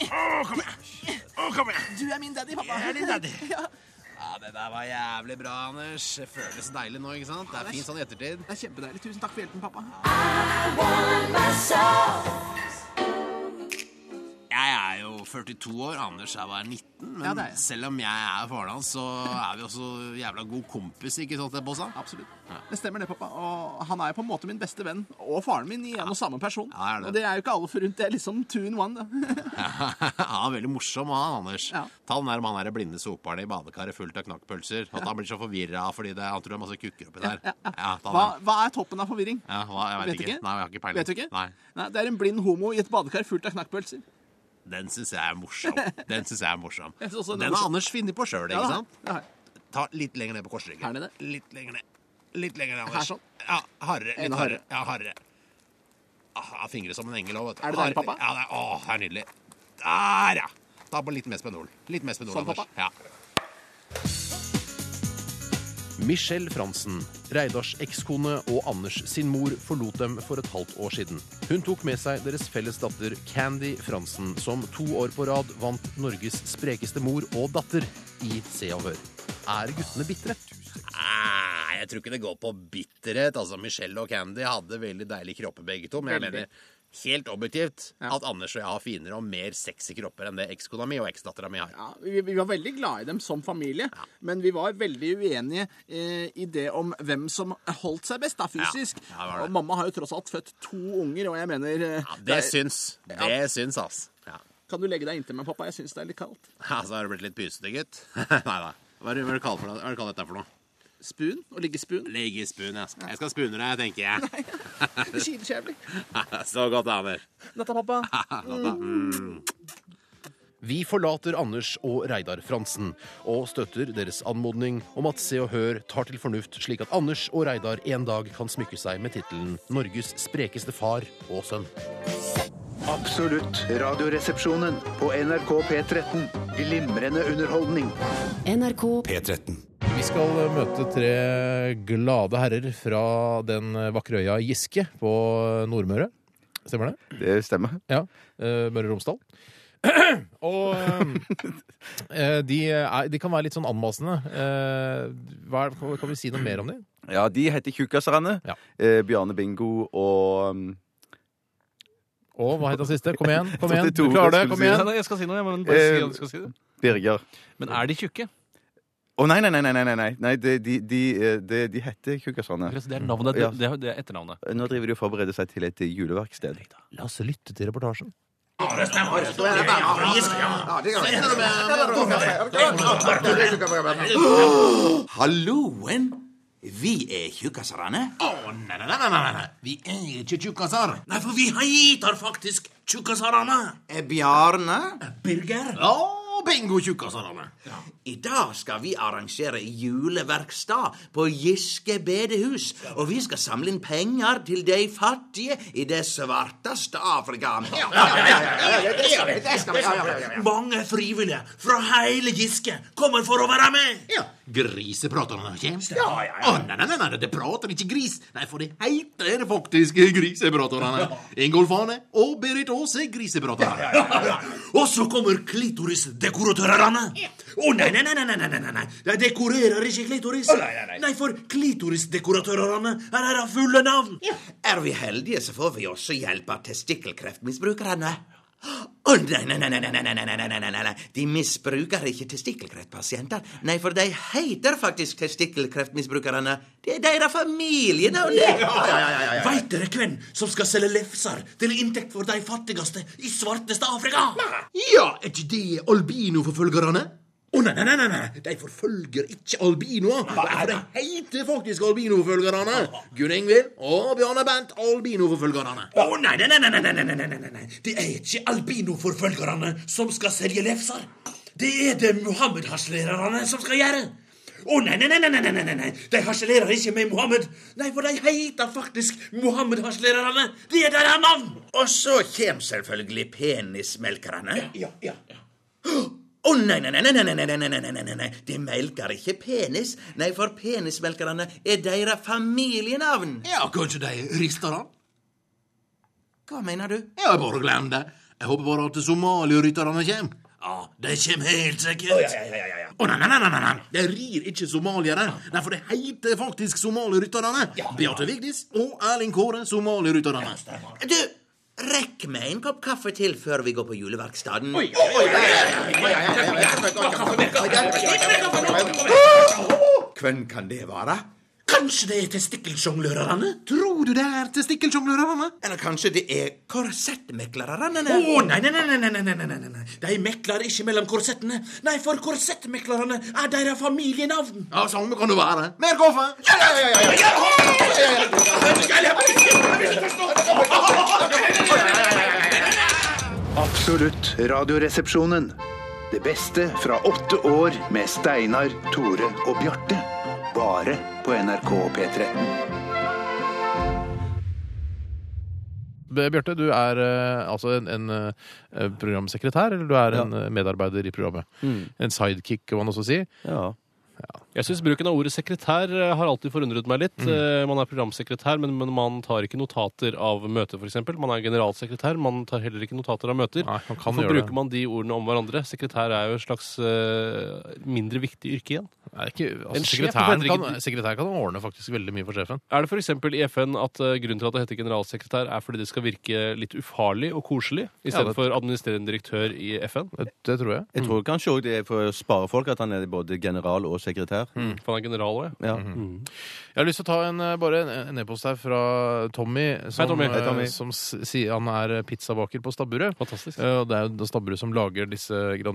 Speaker 7: Å, kom igjen! Å, kom igjen!
Speaker 10: Du er min daddy, pappa.
Speaker 7: Jeg er din daddy. Ja, Det der var jævlig bra, Anders. Det føles deilig nå, ikke sant? Det er fint sånn i ettertid.
Speaker 10: Det er kjempedeilig. Tusen takk for hjelpen, pappa.
Speaker 7: Jeg er jo 42 år, Anders er bare 19. Men
Speaker 10: Ja, det er jeg.
Speaker 7: selv om jeg er faren hans, så er vi også jævla god kompis, ikke sant, Bossa?
Speaker 10: Absolutt. Det stemmer det, pappa. Og han er jo på en måte min beste venn og faren min i en og samme person.
Speaker 7: Ja, er det.
Speaker 10: Og det er jo ikke alle forunt. Det er liksom two in one. da.
Speaker 7: Ja, veldig morsom han, Anders.
Speaker 10: Ja.
Speaker 7: Ta den der med han der blinde soperen i badekaret fullt av knakkpølser. At han blir så forvirra fordi det, han tror det er masse kukker oppi der. Ja, ta
Speaker 10: Hva,
Speaker 7: den.
Speaker 10: hva er toppen av forvirring?
Speaker 7: Ja, hva, jeg vet,
Speaker 10: Vet
Speaker 7: ikke.
Speaker 10: ikke?
Speaker 7: Nei, jeg har ikke peiling.
Speaker 10: Vet du ikke?
Speaker 7: Nei.
Speaker 10: Nei, det er en blind homo i et badekar fullt av knakkpølser.
Speaker 7: Den syns jeg er morsom. Den synes jeg er morsom.
Speaker 10: Jeg synes også den er
Speaker 7: Den har
Speaker 10: morsom.
Speaker 7: Anders funnet på sjøl, ikke
Speaker 10: Ja,
Speaker 7: sant?
Speaker 10: ja.
Speaker 7: Ta litt lenger ned på korsryggen.
Speaker 10: Her nede?
Speaker 7: Litt lenger ned. Litt lenger ned, Anders.
Speaker 10: Her sånn?
Speaker 7: Ja, hardere. Litt
Speaker 10: Enda
Speaker 7: hardere.
Speaker 10: hardere.
Speaker 7: Ja, hardere. Ah, jeg har fingre som en engel òg, vet du.
Speaker 10: Er det deilig,
Speaker 7: Hardere.
Speaker 10: pappa?
Speaker 7: Ja, det er, å, det er nydelig. Der, ja! Ta på litt mer spenol. Litt mer spenol,
Speaker 10: Sånn,
Speaker 7: Anders.
Speaker 10: pappa?
Speaker 7: Ja.
Speaker 1: Michelle Fransen, Reidars ekskone og Anders sin mor forlot dem for et halvt år siden. Hun tok med seg deres felles datter Candy Fransen, som to år på rad vant Norges sprekeste mor og datter i Se og Hør. Er guttene bitre?
Speaker 7: Nei, Ah, jeg tror ikke det går på bitterhet. Altså, Michelle og Candy hadde veldig deilige kropper begge to, men jeg
Speaker 10: Veldig.
Speaker 7: mener helt objektivt at Anders og jeg har finere og mer sexy kropper enn det ekskona mi og eksdattera mi har.
Speaker 10: Ja, vi, vi var veldig glad i dem som familie, men vi var veldig uenige eh, i det om hvem som holdt seg best da, fysisk.
Speaker 7: Ja, ja, det var det.
Speaker 10: og mamma har jo tross alt født to unger, og jeg mener eh,
Speaker 7: Ja, det
Speaker 10: det er-
Speaker 7: syns. Det
Speaker 10: Ja.
Speaker 7: syns, ass. Ja.
Speaker 10: Kan du legge deg inntil meg, pappa? Jeg syns det er litt kaldt.
Speaker 7: Ja, så har du blitt litt pysete, gutt. Nei da. Hva er det hva er det du kaller for noe? Hva er det du kaller dette for noe?
Speaker 10: Spoon? Å ligge i spoon?
Speaker 7: Ligg i spun, jeg. Jeg skal spune deg, tenker jeg.
Speaker 10: Det kiler så jævlig.
Speaker 7: Så godt, Mm. Anders.
Speaker 10: Natta, pappa.
Speaker 1: Vi forlater Anders og Reidar Fransen og støtter deres anmodning om at Se og Hør tar til fornuft, slik at Anders og Reidar en dag kan smykke seg med tittelen 'Norges sprekeste far og sønn'.
Speaker 4: Absolutt radioresepsjonen på NRK P13. Glimrende underholdning.
Speaker 11: NRK
Speaker 6: P13.
Speaker 1: Vi skal møte tre glade herrer fra den vakre øya Giske på Nordmøre. Stemmer det?
Speaker 2: Det stemmer.
Speaker 1: Ja. eh, Møre og Romsdal. og eh, de, er, de kan være litt sånn anmasende. Eh, Hva er, kan vi si noe mer om dem?
Speaker 2: Ja, de heter Tjukkaserne.
Speaker 1: Ja.
Speaker 2: Eh, Bjarne Bingo og um,
Speaker 1: Og hva het den siste? Kom igjen, kom igjen. Du
Speaker 2: Tore
Speaker 1: klarer det,
Speaker 2: skulle
Speaker 1: kom
Speaker 2: si
Speaker 1: igjen.
Speaker 2: det.
Speaker 3: Jeg skal si noe, jeg, men bare si
Speaker 2: Eh,
Speaker 3: hva du skal si. det.
Speaker 2: Birger.
Speaker 3: Men er de tjukke?
Speaker 2: Å nei, nei, nei, nei, nei, nei. nei de, de, de, eh, de, de heter Tjukkaserne.
Speaker 3: Det er navnet,
Speaker 2: Ja. Eh,
Speaker 3: det, det er etternavnet.
Speaker 2: Nå driver de og forbereder seg til et eh, juleverksted.
Speaker 1: La oss lytte til reportasjen.
Speaker 10: Halloen! Vi er tjukkaserne.
Speaker 7: Å, nei, nei, nei, nei, nei, nei. Vi er ikke tjukkasar.
Speaker 10: Nei, for vi heter faktisk tjukkaserne.
Speaker 6: Bjarne?
Speaker 10: Birger,
Speaker 7: Å, bingo, tjukkasarane.
Speaker 10: i dag skal vi arrangere juleverkstad på Giske bedehus. Og vi skal samle inn penger til de fattige i det svarteste Afrika. Mange frivillige fra hele Giske kommer for å være med.
Speaker 7: Ja, Grisepraterne, kjennes det? Ja, ja, ja. nei, nei, nei, nei, det prater ikke gris. Nei, for det heter faktisk Grisepraterne. Ingolf Arne og Berit Aase Grisepraterne.
Speaker 10: Og så kommer klitorisdekoratørerne.
Speaker 12: Oh,
Speaker 10: Å, nei, nei, nei, nei, nei, nei, nei, nei. De dekorerer ikke klitoris. nei, nei, nei. nei, for klitorisdekoratørerne her er det fulle navn. Er vi heldige, så får vi også hjelp av testikkelkreftmisbrukerne. Å
Speaker 12: Å, nei, nei, nei, nei, nei, nei, nei, nei, nei, nei, nei, nei, nei. De misbruker ikke testikkelkreftpasienter. Nei, for de heter faktisk testikkelkreftmisbrukerne. Det er deres familienavn, det. Ja, ja, ja, ja, ja.
Speaker 10: Veit dere hvem som skal selge lefser til inntekt for de fattigste i svarteste Afrika?
Speaker 13: Ja, er ikke det albinoforfølgerne?
Speaker 10: Å, nei, nei, nei, nei, nei, de forfølger ikke albinoer. For de heter faktisk albinoforfølgerne. Gunn Ingvild og Bjarne Bent, albinoforfølgerne.
Speaker 13: Å, nei, nei, nei, nei, nei, nei, nei, nei, nei, nei.
Speaker 10: Det er ikke albinoforfølgerne som skal selge lefser. Det er det Muhammed-harselererne som skal gjøre. Å nei, nei, nei, nei, nei, nei, nei, nei. de harselerer ikke med Mohammed. Nei, for de heter faktisk Mohammed-harselererne. Det er deres navn.
Speaker 12: Og så kjem selvfølgelig penismelkerne.
Speaker 10: Ja, ja.
Speaker 12: Å nei, nei, nei, nei, nei, nei, nei, nei, nei, nei, nei, nei, nei, de melker ikke penis. Nei, for penismelkerne er deres familienavn.
Speaker 10: Ja, kanskje de rister han?
Speaker 12: Hva mener du?
Speaker 10: Ja, bare glem det. Jeg håper bare at somalierytterne kommer. Ja, de kommer helt sikkert. Å nei, nei, nei, nei, nei, nei. De rir ikke somaliere. Nei, for det heter faktisk somalierytterne. Beate Vigdis og Erling Kåre, somalierytterne.
Speaker 12: Du, rekk meg en kopp kaffe til før vi går på juleverkstaden. Oi,
Speaker 10: Hvem kan det være? Kanskje det er testikkelsjonglørerne? Tror du det er testikkelsjonglørerne?
Speaker 12: Eller kanskje det er korsettmeklerne?
Speaker 10: Å, nei, nei, nei, nei, nei, nei, nei, nei, nei. De mekler ikke mellom korsettene. Nei, for korsettmeklerne er deres familienavn.
Speaker 13: Ja, samme kan det være.
Speaker 10: Mer kaffe! Ja, ja, ja, ja, ja.
Speaker 4: Absolutt Radioresepsjonen. Det beste fra åtte år med Steinar, Tore og Bjarte. Bare på NRK P13.
Speaker 1: B- Bjarte, du er eh, altså en, en eh, programsekretær, eller du er en eh, medarbeider i programmet. En sidekick, kan man også si.
Speaker 3: Ja. Mm. Jeg syns bruken av ordet sekretær eh, har alltid forundret meg
Speaker 1: Mm.
Speaker 3: litt. Eh, Man er programsekretær, men, men man tar ikke notater av møter, f.eks. Man er generalsekretær, man tar heller ikke notater av møter.
Speaker 1: Nei, man kan
Speaker 3: Hvorfor
Speaker 1: gjøre det.
Speaker 3: bruker man de ordene om hverandre? Sekretær er jo et slags eh, mindre viktig yrke igjen.
Speaker 1: Nei, ikke, altså,
Speaker 3: En sjef
Speaker 1: sekretæren,
Speaker 3: forventer
Speaker 1: kan,
Speaker 3: ikke-
Speaker 1: sekretæren kan ordne faktisk veldig mye for sjefen.
Speaker 3: Er det f.eks. i FN at eh, grunnen til at det heter generalsekretær, er fordi det skal virke litt ufarlig og koselig,
Speaker 1: Ja, det-
Speaker 3: istedenfor administrerende direktør i FN?
Speaker 1: Det, det tror jeg.
Speaker 2: Jeg tror kanskje også det er for å spare folk at han er både general og sekretær.
Speaker 1: Hmm.
Speaker 3: For han er general òg,
Speaker 2: Ja.
Speaker 1: Mm-hmm.
Speaker 3: Mm.
Speaker 1: Jeg har lyst til å ta en, eh, bare en- en e-post her fra Tommy, som,
Speaker 3: Tommy.
Speaker 1: eh,
Speaker 3: Hei, Tommy.
Speaker 1: som s- sier han er eh, pizzabaker på Stabburet.
Speaker 3: Fantastisk.
Speaker 1: Eh, og Det er jo da Stabburet som lager disse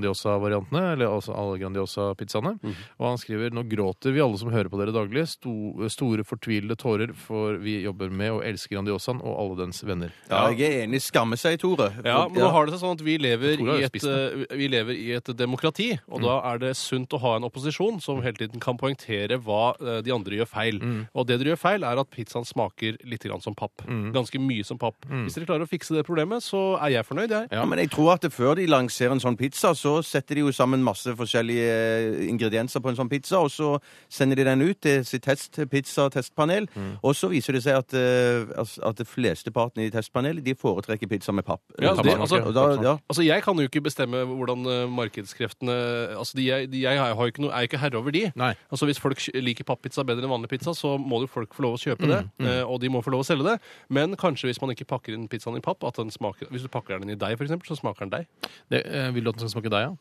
Speaker 1: Grandiosa-variantene, eller altså alle Grandiosa-pizzaene.
Speaker 3: Mhm.
Speaker 1: Og han skriver nå gråter vi alle som hører på dere daglig, sto, store fortvilede tårer, for vi jobber med og elsker Grandiosaen og alle dens venner.
Speaker 2: Ja, jeg er enig. Skamme seg, Tore.
Speaker 3: Ja, men nå har det seg sånn at vi lever,
Speaker 1: Jeg tror
Speaker 3: i
Speaker 1: jeg har
Speaker 3: et,
Speaker 1: spist den. Hmm.
Speaker 3: eh, vi lever i et demokrati, og da er det sunt å ha en opposisjon som hele tiden kan poengtere hva eh, de andre gjør feil.
Speaker 1: Hmm.
Speaker 3: Og det dere gjør feil, er at pizzaen smaker litt grann som papp.
Speaker 1: Hmm.
Speaker 3: Ganske mye som papp. Hvis dere klarer å fikse det problemet, så er jeg fornøyd, jeg.
Speaker 2: Ja, men jeg tror at det før de lanserer en sånn pizza, så setter de jo sammen masse forskjellige eh, ingredienser på en sånn pizza, og så sender de den ut til sitt test, pizza-testpanel,
Speaker 3: Mm.
Speaker 2: og så viser det seg at, eh, altså, at de fleste partene i testpanelet, de foretrekker pizza med papp.
Speaker 3: Ja, det, altså,
Speaker 2: og da, ja.
Speaker 3: altså Jeg kan jo ikke bestemme hvordan eh, markedskreftene altså de, Jeg, de, jeg har jo ikke noe, er jo ikke herre over de.
Speaker 1: Nei.
Speaker 3: Altså Hvis folk liker pappizza bedre enn vanlig pizza, så må jo folk få lov å kjøpe
Speaker 1: Mm,
Speaker 3: det. eh, Og de må få lov å selge det. Men kanskje hvis man ikke pakker inn pizzaen i papp, at den smaker, hvis du pakker den i deig, for eksempel, så smaker den deig.
Speaker 1: Det, eh, vil du at den skal smake deg, ja?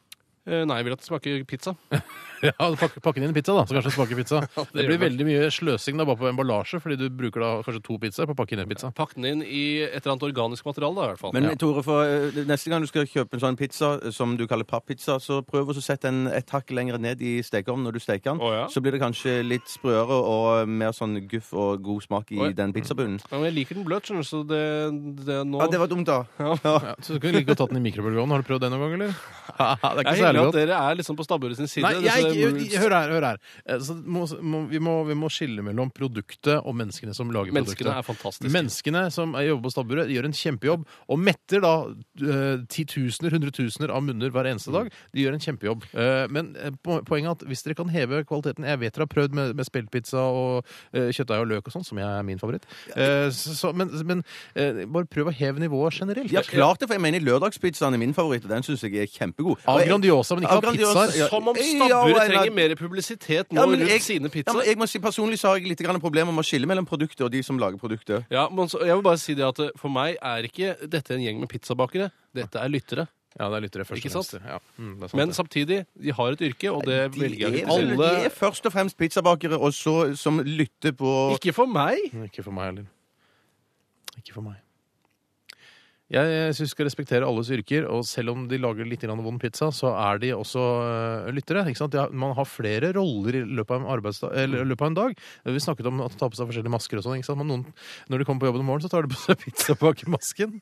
Speaker 3: Eh, Nei, jeg vil at den smaker pizza.
Speaker 1: Ja, pakke, pakke den inn i pizza, da, så kanskje det smaker pizza. det,
Speaker 3: gjør
Speaker 1: blir
Speaker 3: det.
Speaker 1: veldig mye sløsing da, bare på emballasje, fordi du bruker da kanskje to pizzaer på å pakke inn en pizza.
Speaker 3: Pakk den inn i et eller annet organisk materiale, da, i hvert fall.
Speaker 2: Men
Speaker 3: ja.
Speaker 2: Tore, for, eh, neste gang du skal kjøpe en sånn pizza eh, som du kaller pappizza, så prøv å så sette den et hakk lenger ned i stekeovnen når du steker den.
Speaker 3: Å, ja.
Speaker 2: Så blir det kanskje litt sprøere og mer sånn guff og god smak i
Speaker 3: Oi.
Speaker 2: den pizzabunnen.
Speaker 3: Ja, men jeg liker den bløt, skjønner du, så det, det nå
Speaker 2: Ja, det var dumt, da.
Speaker 1: Ja, så du kunne like godt tatt den i mikrobølgeovnen. Har du prøvd det noen gang, eller?
Speaker 3: Jeg
Speaker 1: det
Speaker 3: er hyggelig at dere er liksom på stabburet sin side.
Speaker 1: Nei, jeg,
Speaker 3: disse
Speaker 1: jeg,
Speaker 3: rules.
Speaker 1: hør her. hør her Eh, så må, må, vi, må, vi må skille mellom produktet og menneskene som lager
Speaker 3: Menneskene er
Speaker 1: produktet.
Speaker 3: fantastiske.
Speaker 1: Menneskene som er- jobber på stabburet, gjør en kjempejobb og metter da eh, titusener, hundretusener av munner hver eneste dag. De gjør en kjempejobb. Eh, men eh, po- poenget er at hvis dere kan heve kvaliteten Jeg vet dere har prøvd med, med speltpizza og eh, kjøttdeig og løk og sånn, som jeg er min favoritt. Eh, så, så- men men eh, bare prøv å heve nivået generelt.
Speaker 2: Ja, klart det, for jeg mener lørdagspizzaen er min favoritt, og den syns jeg er kjempegod.
Speaker 1: Av
Speaker 2: Og jeg-
Speaker 1: Grandiosa, men ikke av
Speaker 2: Grandiosa,
Speaker 1: pizzaer.
Speaker 2: ja.
Speaker 3: Som om
Speaker 2: Ja, og
Speaker 3: stabburet
Speaker 2: en-
Speaker 3: trenger mer publisitet nå
Speaker 2: ja, men
Speaker 3: rundt
Speaker 2: jeg,
Speaker 3: sine
Speaker 2: ja, men
Speaker 3: pizzaer.
Speaker 2: jeg må si, Personlig så har jeg litt grann problemer med å skille mellom produktet og de som lager produktet.
Speaker 3: Ja, men så, jeg vil bare si det at eh, For meg er ikke dette en gjeng med pizzabakere. Dette er lyttere.
Speaker 1: Ja, det er lyttere først
Speaker 3: Ikke
Speaker 1: og fremst.
Speaker 3: sant?
Speaker 1: Ja. Mm, det er sant
Speaker 3: Men
Speaker 1: det.
Speaker 3: samtidig, de har et yrke, og det velger jeg
Speaker 14: er, alle... de er først og fremst pizzabakere, og så som lytter på
Speaker 3: Ikke for meg!
Speaker 1: Ikke for meg heller. Ikke for meg. Jeg syns vi skal respektere alles yrker, og selv om de lager litt grann vond pizza, så er de også øh, lyttere. Ikke sant? De har, man har flere roller i løpet av en, arbeidsdag, eller, i løpet av en dag. Vi snakket om at de tar på seg forskjellige masker og sånn. ikke sant? Men noen, når de kommer på jobb om morgenen, så tar de på seg pizza bak i masken.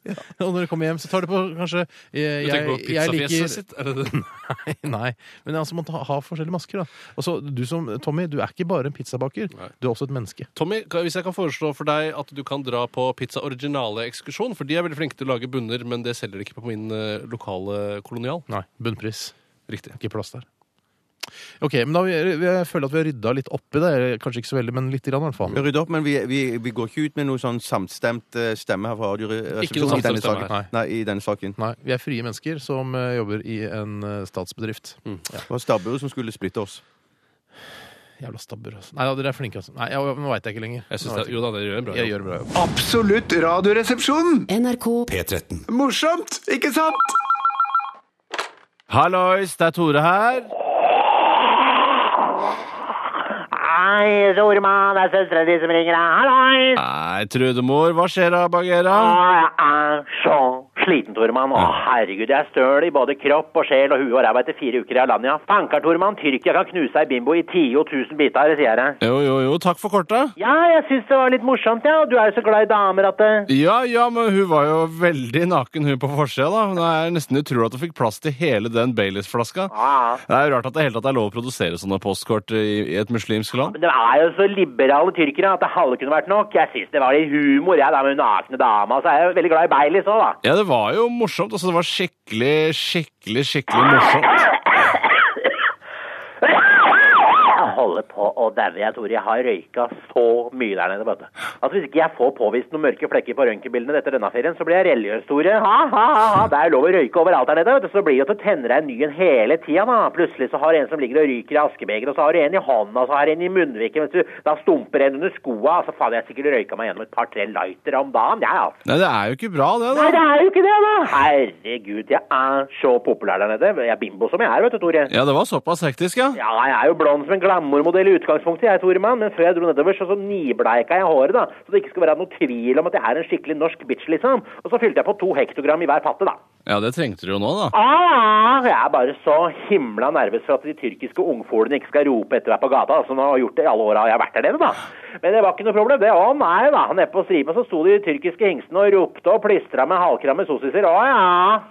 Speaker 1: Og når de kommer hjem, så tar de på kanskje eh, jeg,
Speaker 9: Du tenker på
Speaker 1: jeg
Speaker 9: pizzafjeset
Speaker 1: liker-
Speaker 9: sitt? Er det det?
Speaker 1: Nei, nei. Men altså, man ta- har forskjellige masker, da. Og så du som Tommy, du er ikke bare en pizzabaker. Du er også et menneske.
Speaker 3: Tommy, kan- hvis jeg kan foreslå for deg at du kan dra på Pizza Originale-ekskursjon, for de er veldig flinke til å lage bunner, men det selger de ikke på min eh, lokale kolonial.
Speaker 1: Nei, bunnpris.
Speaker 3: Riktig.
Speaker 1: Ikke plass der. Ok, men da har vi, vi- Jeg føler at vi har rydda litt opp i det. Kanskje ikke så veldig, men litt grann, i hvert fall.
Speaker 14: Vi rydder opp, men vi, vi, vi går ikke ut med noe sånn samstemt eh, stemme her fra
Speaker 1: Ikke noe
Speaker 14: Radioresepsjonen i
Speaker 1: samstemt
Speaker 14: denne
Speaker 1: stemme
Speaker 14: saken.
Speaker 1: her.
Speaker 14: Nei. i denne saken.
Speaker 1: Nei, Vi er frie mennesker som eh, jobber i en eh, statsbedrift. Ja.
Speaker 14: Det var stabburet som skulle splitte oss.
Speaker 1: Jævla stabber, altså. Nei, ja, dere er flinke, altså. Nei, ja, Nå veit jeg ikke lenger.
Speaker 3: Jeg synes
Speaker 1: Nå vet
Speaker 3: det- jo da, dere gjør en bra
Speaker 1: Jeg
Speaker 3: jobb.
Speaker 1: gjør en bra jobb.
Speaker 4: Absolutt radioresepsjon.
Speaker 15: NRK
Speaker 6: P13.
Speaker 4: Morsomt, ikke sant?
Speaker 3: Hallois, det er Tore her.
Speaker 8: Hei, Tormann, det er søstera di som ringer deg. Hallois!
Speaker 3: Nei, Trudemor, hva skjer da, Bagheera?
Speaker 8: Ah, Jeg er så sliten, Tormann. Å, herregud, jeg er støl i både kropp og sjel og hue og ræva etter fire uker i Alanya. Fanker, Tormann, Tyrkia kan knuse ei bimbo i 10 og 1000 biter, sier jeg. det.
Speaker 3: Jo, jo, jo, takk for kortet.
Speaker 8: Ja, jeg syns det var litt morsomt, ja. og Du er jo så glad i damer at det
Speaker 3: Ja, ja, men hun var jo veldig naken hun på forsida, da. Det er nesten utrolig at hun fikk plass til hele den Baileys-flaska. Det er jo rart at det hele tatt er lov å produsere sånne postkort i, i et muslimsk land.
Speaker 8: Men det er jo så liberale tyrkere at det halve kunne vært nok. Jeg syns det var litt humor, jeg, da med hun nakne dama. Så er jeg jo veldig glad i Baileys òg, da.
Speaker 3: Ja, det var jo morsomt. Altså, det var skikkelig, skikkelig, skikkelig morsomt.
Speaker 8: Jeg holder på å daue, jeg tror jeg har røyka så mye der nede, vet du. Altså, hvis ikke jeg får påvist noen mørke flekker på røntgenbildene etter denne ferien, så blir jeg religiøs, Tore. Ha, ha, ha, ha. Det er lov å røyke overalt der nede, vet du. Så blir det at du tenner deg en ny en hele tida, da. Plutselig så har du en som ligger og ryker i askebeger, og så har du en i hånda, og så har du en i munnviken, vet du. Da stumper en under skoa. Altså, faen, jeg sikkert røyka meg gjennom et par-tre lighter om dagen, jeg, altså.
Speaker 3: Nei, det er jo ikke bra, det, da.
Speaker 8: Nei, det er jo ikke det, da! Herregud, jeg er så populær der nede. Jeg er bimbo som jeg er, vet du, Tore.
Speaker 3: Ja, det var såpass hektisk, ja.
Speaker 8: Ja, jeg er jo blond som en glamourmodell i utgangspunktet, jeg, Toremann. Men før jeg dro nedover, så, så nibleika jeg håret, da. Så det ikke skulle være noe tvil om at jeg er en skikkelig norsk bitch, liksom. Og så fylte jeg på to hektogram i hver patte, da.
Speaker 3: Ja, det trengte du jo nå, da.
Speaker 8: Ah, jeg er bare så himla nervøs for at de tyrkiske ungfolene ikke skal rope etter meg på gata, som de har gjort det i alle åra jeg har vært der nede, da. Men det var ikke noe problem, det. Å nei, da. Nede på stripa så sto de tyrkiske hingstene og ropte og plystra med halvkramme sossiser. Å ja.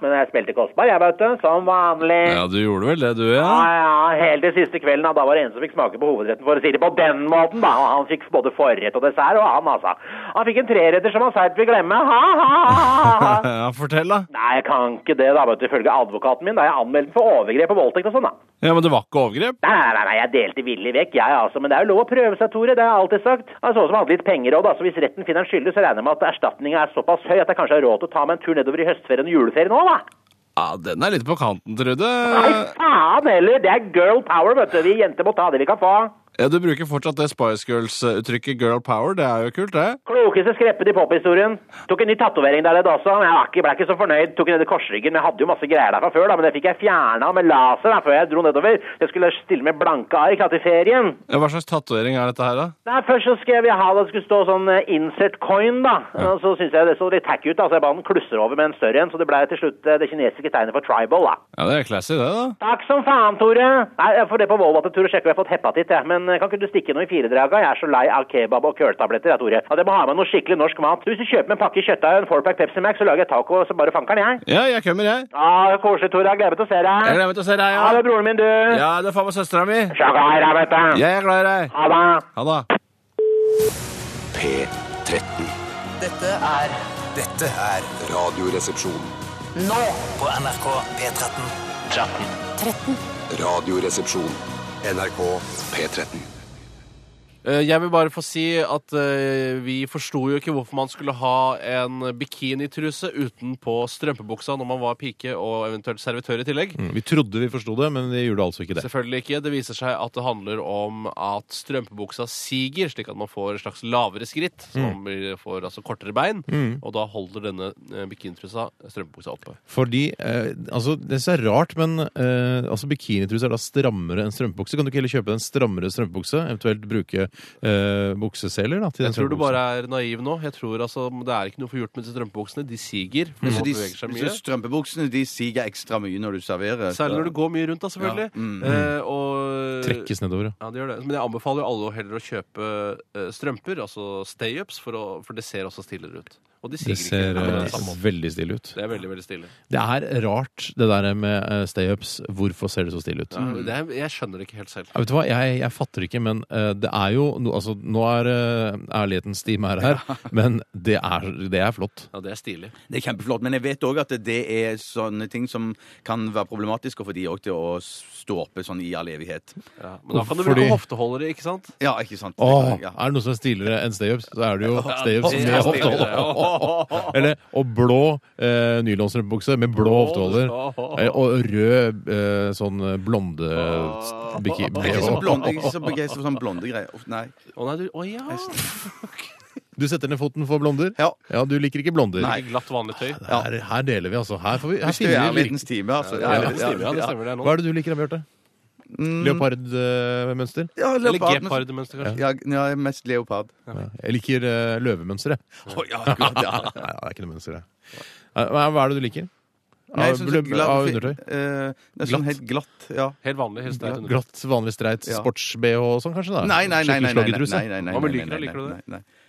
Speaker 8: Men jeg spilte kostbar, jeg, vet du. Som vanlig.
Speaker 3: Ja, du gjorde vel det, du, ja.
Speaker 8: Eh. Ja, ja, helt til siste kvelden, da, da var det en som fikk smake på hovedretten, for å si det på den måten, da. Og han fikk både forrett og dessert, og han, altså. Han fikk en treretter som han seigt vil glemme. Ha, ha, ha, ha, ha.
Speaker 3: Ja, fortell, da.
Speaker 8: Nei, jeg kan ikke det, da, vet du, ifølge advokaten min. Da er jeg anmeldt for overgrep og voldtekt og sånn, da.
Speaker 3: Ja, Men det var ikke overgrep?
Speaker 8: Nei, nei, nei, nei, jeg delte villig vekk, jeg altså. Men det er jo lov å prøve seg, Tore. Det har jeg alltid sagt. Han så ut som han hadde litt penger òg, da. Så hvis retten finner han skyldig, så regner jeg med at erstatninga er såpass høy at jeg kanskje har råd til å ta meg en tur nedover i høstferien og juleferien òg, da.
Speaker 3: Ja, Den er litt på kanten, Trude.
Speaker 8: Nei, faen heller! Det er girl power, vet du. Vi jenter må ta det vi kan få.
Speaker 3: Ja, Du bruker fortsatt det Spice Girls-uttrykket 'girl power'. Det er jo kult, det.
Speaker 8: Klokeste skreppet i pophistorien. Tok en ny tatovering der nede også. Men jeg var ikke, ble ikke så fornøyd. Tok ned i korsryggen. Men jeg hadde jo masse greier der fra før, da. Men det fikk jeg fjerna med laser da, før jeg dro nedover. Jeg skulle stille med blanke ark da, til ferien.
Speaker 3: Ja, Hva slags tatovering er dette her, da?
Speaker 8: Nei, først så skrev jeg ha det skulle stå sånn eh, insert coin, da. Og så syntes jeg det så litt tacky ut, da, så jeg ba den klusser over med en større en. Så det ble til slutt eh, det kinesiske tegnet for tribal, da.
Speaker 3: Ja, Det er classy, det, da.
Speaker 8: Takk som faen, Tore. Nei, jeg får det på Volvat en tur og sjekke om jeg har fått hepatitt, jeg. Men eh, kan ikke du stikke noe i firedraga? Jeg er så lei av kebab og køltabletter, jeg, Tore. At jeg må ha med noe skikkelig norsk mat. Du, Hvis du kjøper meg en pakke kjøttdeig og en fourpack Pepsi Max, så lager jeg taco, så bare fanker den, jeg.
Speaker 3: Ja, jeg kommer, jeg.
Speaker 8: Ja, koselig, Tore. Jeg gleder meg til å se deg.
Speaker 3: Jeg gleder meg til å se deg, ja.
Speaker 8: Ha det, broren min, du.
Speaker 3: Ja, det er faen meg søstera mi.
Speaker 8: Så glad i deg, vet du.
Speaker 3: Jeg er glad i deg.
Speaker 8: Ha det.
Speaker 3: Ha det.
Speaker 6: P13.
Speaker 16: Dette er Dette er
Speaker 6: Radioresepsjon.
Speaker 16: Nå på NRK P13. 13.
Speaker 6: 13. Radioresepsjon. NRK P13.
Speaker 3: Eh, Jeg vil bare få si at eh, vi forsto jo ikke hvorfor man skulle ha en bikinitruse utenpå strømpebuksa når man var pike og eventuelt servitør i tillegg.
Speaker 1: Mm, Vi trodde vi forsto det, men vi gjorde altså ikke det.
Speaker 3: Selvfølgelig ikke. Det viser seg at det handler om at strømpebuksa siger, slik at man får et slags lavere skritt. Så
Speaker 1: Mm.
Speaker 3: man blir- får altså kortere bein,
Speaker 1: Mm.
Speaker 3: og da holder denne eh, bikinitrusa strømpebuksa oppe.
Speaker 1: Fordi, eh, altså, Det synes jeg er rart, men eh, altså, bikinitruser er da strammere enn strømpebukse. Kan du ikke heller kjøpe en strammere strømpebukse, eventuelt bruke eh, bukseseler? da, til
Speaker 3: Jeg
Speaker 1: den
Speaker 3: tror du
Speaker 1: strømpebuksen?
Speaker 3: bare er naiv nå. Jeg tror altså, Det er ikke noe for gjort med disse strømpebuksene. De
Speaker 1: Mm.
Speaker 3: siger.
Speaker 14: Så
Speaker 3: fordi man
Speaker 14: de,
Speaker 3: beveger seg
Speaker 14: så
Speaker 3: mye.
Speaker 14: strømpebuksene de siger ekstra mye når du serverer.
Speaker 3: Særlig når du går mye rundt, da, selvfølgelig.
Speaker 14: Ja. Mm.
Speaker 3: Eh, og,
Speaker 14: Trekkes
Speaker 1: nedover,
Speaker 3: ja. det gjør det. Men jeg anbefaler jo alle å heller å kjøpe eh, strømper, altså stay-ups, for, å- for det ser også stillere ut. Og de siger
Speaker 1: Det ser
Speaker 3: ikke.
Speaker 1: eh, veldig stille ut.
Speaker 3: Det er veldig, veldig stille.
Speaker 1: Det er rart, det der med eh, stay-ups. Hvorfor ser det så stille ut?
Speaker 3: Ja, det er, jeg skjønner det ikke helt selv.
Speaker 1: Ja, vet du hva, jeg, jeg fatter ikke, men eh, det er jo no, altså, Nå er uh, ærlighetens time er her, men det er, det er flott.
Speaker 3: Ja, det er stilig.
Speaker 14: Det er kjempeflott, men jeg vet òg at det er sånne ting som kan være problematiske for de òg, til å stå oppe sånn i all evighet.
Speaker 3: Men da kan du bruke
Speaker 1: Fordi-
Speaker 3: hofteholdere, ikke sant?
Speaker 14: Ja, ikke sant?
Speaker 1: Åh,
Speaker 14: Ja.
Speaker 1: er det noe som er stiligere enn stay-ups, så er det jo
Speaker 3: Ja,
Speaker 1: stay-ups
Speaker 3: det er
Speaker 1: med
Speaker 3: stilig, det, ja.
Speaker 1: hofteholder. Eller og blå eh, nylonstrømpebukse med blå hofteholder. Eh, Og rød eh, sånn eh, blonde
Speaker 14: Jeg
Speaker 1: biki...
Speaker 14: er ikke så blond- jeg er ikke så begeistra for sånne blonde greier. Uff, Nei.
Speaker 3: Å nei, du Å ja!
Speaker 1: Du setter ned foten for blonder?
Speaker 14: Ja.
Speaker 1: du liker ikke blonder?
Speaker 3: Nei. Glatt, vanlig tøy.
Speaker 1: Her, her deler vi, altså. Her, får vi, her
Speaker 14: Hvis det
Speaker 1: finner
Speaker 14: er
Speaker 1: vi virke-
Speaker 14: ærlighetens time, altså.
Speaker 1: Ja, ærlighetens
Speaker 14: Ja,
Speaker 1: time, ja,
Speaker 14: ja,
Speaker 1: det
Speaker 14: ja. Mm.
Speaker 1: stemmer det nå. Hva er det du liker av Bjarte? eh, Leopardmønster?
Speaker 14: Ja, leopard- Ja, ja, mest leopard.
Speaker 1: Ja. Jeg liker uh, løvemønster, jeg.
Speaker 14: Å, ja, akkurat, ja.
Speaker 1: Nei, det er ikke noe mønster, jeg. Nei, Hva hva er det du liker? Av,
Speaker 14: Nei, jeg synes
Speaker 1: blø-
Speaker 14: det er glatt-
Speaker 1: av undertøy?
Speaker 14: eh, det er sånn
Speaker 1: Glatt.
Speaker 14: helt glatt. Ja.
Speaker 3: Helt vanlig. Helt
Speaker 1: Glatt, glatt, vanlig streit
Speaker 14: Ja.
Speaker 1: sports-BH og sånn, kanskje? da?
Speaker 14: Nei, nei, nei, nei, nei,
Speaker 1: Skikkelig
Speaker 14: nei,
Speaker 1: slaggetruse?
Speaker 14: nei, nei, nei,
Speaker 3: Hva med
Speaker 14: nei,
Speaker 3: lyker,
Speaker 14: nei,
Speaker 3: da? Liker du
Speaker 14: nei,
Speaker 3: det?
Speaker 14: nei.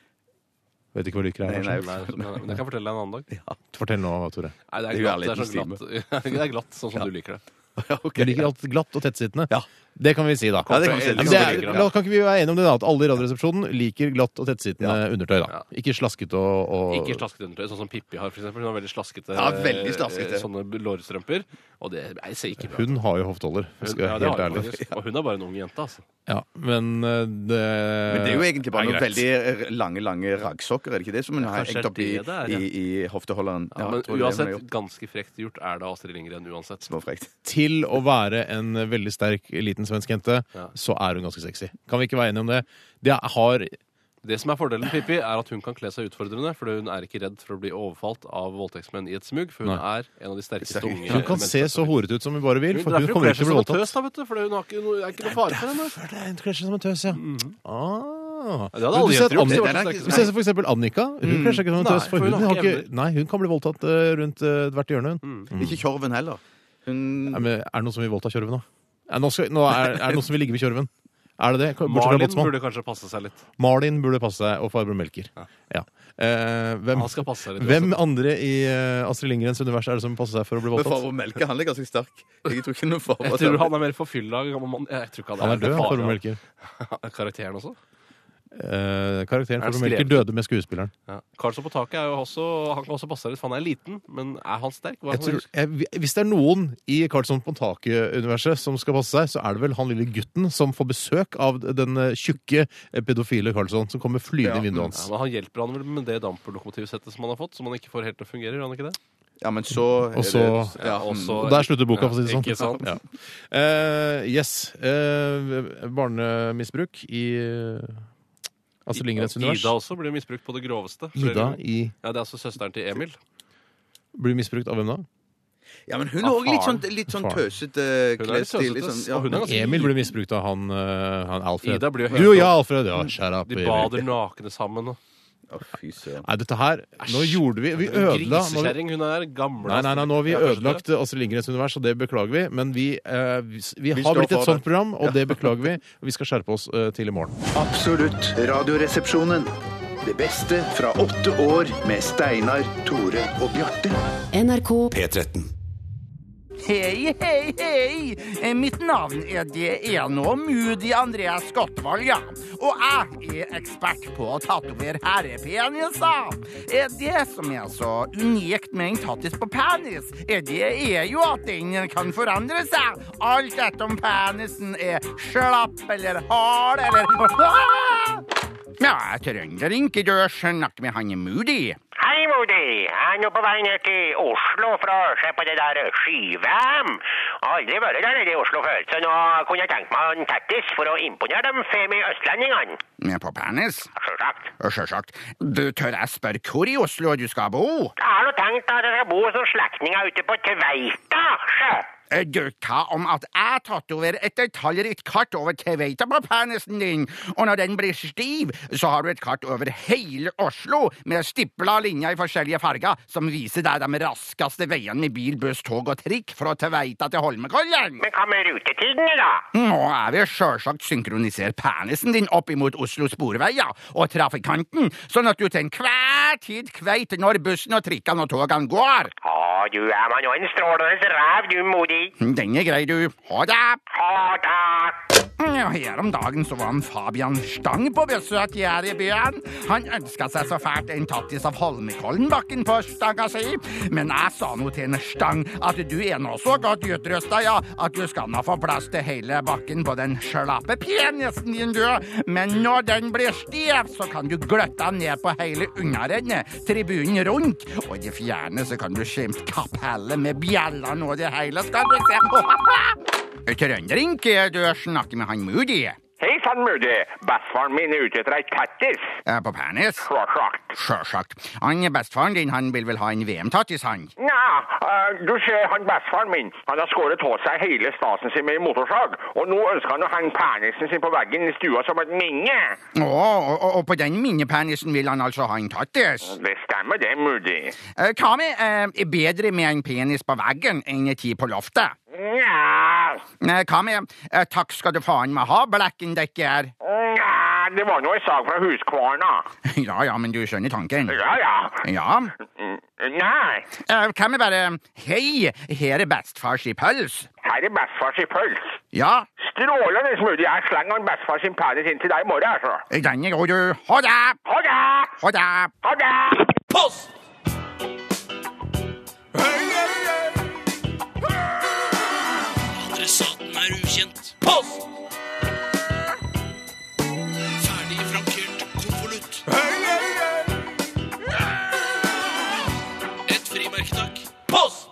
Speaker 1: Vet ikke hva du liker her.
Speaker 14: Nei, nei,
Speaker 3: Nei,
Speaker 1: kanskje?
Speaker 3: men men jeg kan fortelle deg en annen dag.
Speaker 1: Fortell nå, Tore.
Speaker 3: Nei,
Speaker 14: Det
Speaker 3: det er
Speaker 14: er jo
Speaker 3: glatt. Det er, sånn
Speaker 14: ærlighetens
Speaker 3: glatt. det er glatt, sånn som
Speaker 14: Ja.
Speaker 3: du liker det.
Speaker 1: Du liker alt glatt og tettsittende. Det kan vi si, da.
Speaker 3: Ja, det kan vi si.
Speaker 1: Men det er,
Speaker 3: Det kan vi si.
Speaker 1: la, kan ikke vi være enige om det, da? At alle i Radioresepsjonen liker glatt og tettsittende undertøy, da. Ikke slaskete og, og
Speaker 3: Ikke slaskete undertøy, sånn som Pippi har, for eksempel. Hun har veldig slaskete,
Speaker 1: Ja, veldig slaskete.
Speaker 3: eh, sånne lårstrømper. Og det jeg ser ikke bra ut.
Speaker 1: Hun har jo hofteholder,
Speaker 3: Hun-
Speaker 1: skal jeg
Speaker 3: ja,
Speaker 1: være
Speaker 3: det
Speaker 1: helt
Speaker 3: har hun
Speaker 1: ærlig.
Speaker 3: faktisk. Og hun er bare en ung jente, altså.
Speaker 1: Ja, men eh, det
Speaker 14: Men det er jo egentlig bare noen
Speaker 1: greit.
Speaker 14: veldig lange lange raggsokker, er det ikke det som hun har
Speaker 3: kanskje
Speaker 14: hengt opp i,
Speaker 3: det det er, ja.
Speaker 14: i, i hofteholderen?
Speaker 3: Ja,
Speaker 14: jeg
Speaker 3: men
Speaker 14: tror det er det hun har
Speaker 3: uansett,
Speaker 14: gjort.
Speaker 3: ganske frekt gjort er det av Astrid Lindgren uansett.
Speaker 14: frekt.
Speaker 1: Til å være en veldig sterk liten svensk jente,
Speaker 3: Ja.
Speaker 1: så er hun ganske sexy. Kan vi ikke være enige om det? Det har
Speaker 3: Det som er fordelen med Pippi, er at hun kan kle seg utfordrende, for hun er ikke redd for å bli overfalt av voldtektsmenn i et smug, for hun
Speaker 1: Nei.
Speaker 3: er en av de sterkeste unge
Speaker 1: Hun kan se så horete ut som hun bare vil,
Speaker 3: Hun-
Speaker 1: for
Speaker 3: derfor
Speaker 1: hun kommer ikke
Speaker 3: kler seg som
Speaker 1: til å bli
Speaker 3: en
Speaker 1: voldtatt.
Speaker 3: tøs, da, vet du, for hun har ikke noe, det er ikke noe fare for henne.
Speaker 1: Hun kler seg som en tøs, ja. Ah.
Speaker 3: Ja, det hadde
Speaker 1: Men
Speaker 3: alle
Speaker 1: du ser at
Speaker 3: jenter gjort,
Speaker 1: Annika-
Speaker 3: det var ikke-
Speaker 1: Vi ser for eksempel Annika. Hun
Speaker 3: Mm.
Speaker 1: kler seg ikke som en
Speaker 3: Nei,
Speaker 1: tøs, for hun, har ikke,
Speaker 3: evner.
Speaker 1: nei, hun kan bli voldtatt eh, rundt eh, hvert hjørne. Hun.
Speaker 3: Mm.
Speaker 14: Ikke Tjorven heller. Hun
Speaker 1: Nei, men er det noen som vil voldta Tjorven, da? Er, nå skal, nå er, er det noen som vil ligge med Tjorven? Er det det? Bortsett fra
Speaker 3: Marlin
Speaker 1: Båtsmann.
Speaker 3: burde kanskje passe seg litt.
Speaker 1: Marlin burde passe seg, og farbror Melker. Ja. Eh, hvem,
Speaker 3: Han skal passe seg litt
Speaker 1: hvem
Speaker 3: også.
Speaker 1: andre i eh, Astrid Lindgrens univers er det som passer seg for å bli
Speaker 14: Men
Speaker 1: voldtatt?
Speaker 14: farbror Melke, han er ganske sterk. Jeg tror ikke noe farbror
Speaker 3: Jeg tror han er mer forfylla gammel mann. Jeg tror ikke han er
Speaker 1: Han er død,
Speaker 3: det
Speaker 1: Farbror Melker.
Speaker 3: Karakteren også?
Speaker 1: Eh, karakteren
Speaker 3: Er det
Speaker 1: farbror Melker
Speaker 3: skrevet?
Speaker 1: døde med skuespilleren.
Speaker 3: Ja. Karlsson på taket er jo også Han kan også passe seg litt, for han er liten, men er han sterk? Hva er
Speaker 1: Jeg
Speaker 3: han
Speaker 1: tror, jeg, hvis det er noen i Karlsson på taket-universet som skal passe seg, så er det vel han lille gutten som får besøk av den eh, tjukke eh, pedofile Karlsson som kommer flyvende i vinduet hans.
Speaker 3: Ja, men han hjelper han vel med det damperlokomotivsettet som han har fått, som han ikke får helt til å fungere? Gjør han ikke det?
Speaker 14: Ja, men så
Speaker 1: Og så
Speaker 3: Ja,
Speaker 14: mm.
Speaker 3: og så-
Speaker 1: og Der slutter
Speaker 3: Ja,
Speaker 1: boka, for å si det sånn.
Speaker 3: ikke sant?
Speaker 1: Ja. Eh, yes. Eh, barnemisbruk i eh, Astrid Lindgrens univers.
Speaker 3: Ida også blir misbrukt på det groveste.
Speaker 1: Ida
Speaker 3: Flere-
Speaker 1: i-
Speaker 3: Ja, Det er altså søsteren til Emil.
Speaker 1: Blir misbrukt av hvem da?
Speaker 14: Ja, men hun
Speaker 3: Av
Speaker 14: er òg litt sånn,
Speaker 3: faren.
Speaker 14: litt sånn
Speaker 1: Faren.
Speaker 14: tøsete
Speaker 3: Hun er litt
Speaker 14: klesstil.
Speaker 3: tøsete,
Speaker 14: litt sånn,
Speaker 3: og hun er ganske-
Speaker 1: Emil blir misbrukt av han, eh, han Alfred.
Speaker 3: Ida blir jo
Speaker 1: du og
Speaker 3: helt-
Speaker 1: jeg, Alfred. Ja, skjær opp.
Speaker 3: De
Speaker 1: Emil.
Speaker 3: bader nakne sammen. og-
Speaker 1: Nei, dette her Nå gjorde vi Vi
Speaker 3: Hun
Speaker 1: ødela nå-
Speaker 3: Grisekjerring. Hun er gammel.
Speaker 1: Nei, nei, nei, nå har vi
Speaker 3: Ja, kanskje
Speaker 1: ødelagt Astrid Lindgrens univers, og det beklager vi. Men vi, eh, vi, vi
Speaker 4: Vi
Speaker 1: har
Speaker 4: står
Speaker 1: blitt
Speaker 4: for
Speaker 1: et sånt
Speaker 4: det.
Speaker 1: program, og
Speaker 4: Ja.
Speaker 1: det beklager vi. Og vi skal skjerpe oss eh, til i morgen.
Speaker 4: Absolutt radioresepsjonen. Det beste fra åtte år med Steinar, Tore og Bjarte.
Speaker 15: NRK
Speaker 4: P13.
Speaker 17: Hei, hei, hei! Eh, Mitt navn er det er nå Moody André Skottvold, ja. Og jeg er ekspert på å tatovere herrepeniser. Eh, Det som er så unikt med en tattis på penis, eh, det er jo at den kan forandre seg. Alt etter om penisen er slapp eller hard eller Ja, trønder inkedørs snakker med han Moody. eh,
Speaker 15: Hei, Modi. Jeg er nå på vei ned til Oslo for å se på det der ski-VM. Jeg har Aldri vært der nede i Oslo før, så nå kunne jeg tenkt meg en tattis for å imponere de femi østlendingene.
Speaker 17: Ja, På Pernes?
Speaker 15: Sjølsagt.
Speaker 17: Sjølsagt. Du, tør jeg spørre hvor i Oslo du skal bo?
Speaker 15: Jeg har nå tenkt at jeg skal bo som slektninger ute på Tveita. sjø.
Speaker 17: Eh, Du, hva om at jeg tatoverer et detaljrikt kart over kveita på penisen din, og når den blir stiv, så har du et kart over hele Oslo med stipla linjer i forskjellige farger som viser deg de raskeste veiene med bil, buss, tog og trikk fra Tveita til Holmenkollen?
Speaker 15: Men hva med rutetidene, da?
Speaker 17: Nå er vi sjølsagt synkronisere penisen din opp imot Oslo Sporveier og trafikanten, sånn at du til enhver tid kveit når bussen og trikkene og togene går.
Speaker 15: Å, du er meg nå en strålende ræv, du, Modi.
Speaker 17: Den er grei, du. Ha det.
Speaker 15: Ha det.
Speaker 17: Ja, her om dagen så var han Fabian Stang på besøk her i byen. Han ønska seg så fælt en tattis av Holmenkollenbakken på stanga si, men jeg sa nå til en Stang at du er nå så godt utrusta, ja, at du skal nå få plass til hele bakken på den slappe penisen din, du. Men når den blir stiv, så kan du gløtte den ned på hele unnarennet, tribunen rundt, og i det fjerne så kan du skimte kapellet med bjellene og det hele, skal du se. Trøndering, du snakker med han Moody.
Speaker 15: Hei sann, Mudi. Bestefaren min er ute etter ei tattis.
Speaker 17: Eh, På Pernes?
Speaker 15: Sjølsagt.
Speaker 17: Sjølsagt. Han bestefaren din han vil vel ha en VM-tattis, han?
Speaker 15: Nja, eh, du ser han bestefaren min. Han har skåret av seg hele stasen sin med en motorsag. Og nå ønsker han å henge penisen sin på veggen i stua som et minne.
Speaker 17: Å, og, og, og på den minnepernisen vil han altså ha en tattis?
Speaker 15: Det stemmer det, Moody.
Speaker 17: Eh, Hva med eh, bedre med en penis på veggen enn ti på loftet?
Speaker 15: Nja,
Speaker 17: Eh, Hva med eh, takk skal du faen meg ha, Blekkendekker?
Speaker 15: nja, det var nå en sak fra huskvarna.
Speaker 17: Ja ja, men du skjønner tanken?
Speaker 15: Ja, ja.
Speaker 17: Ja.
Speaker 15: Mm, Nei,
Speaker 17: Eh, Hva med bare hei, her er bestefars i pøls?
Speaker 15: her er bestefar sin pøls.
Speaker 17: Ja,
Speaker 15: Strålende, Moody. Jeg slenger han bestefar sin penis inn til deg i morgen, altså.
Speaker 17: den er god, du. Ha det!
Speaker 15: Ha det!
Speaker 17: Ha det!
Speaker 15: Ha det!
Speaker 3: Post!
Speaker 10: Adressaten er ukjent.
Speaker 3: Post!
Speaker 10: Ferdig frankert konvolutt. Et frimerke, takk.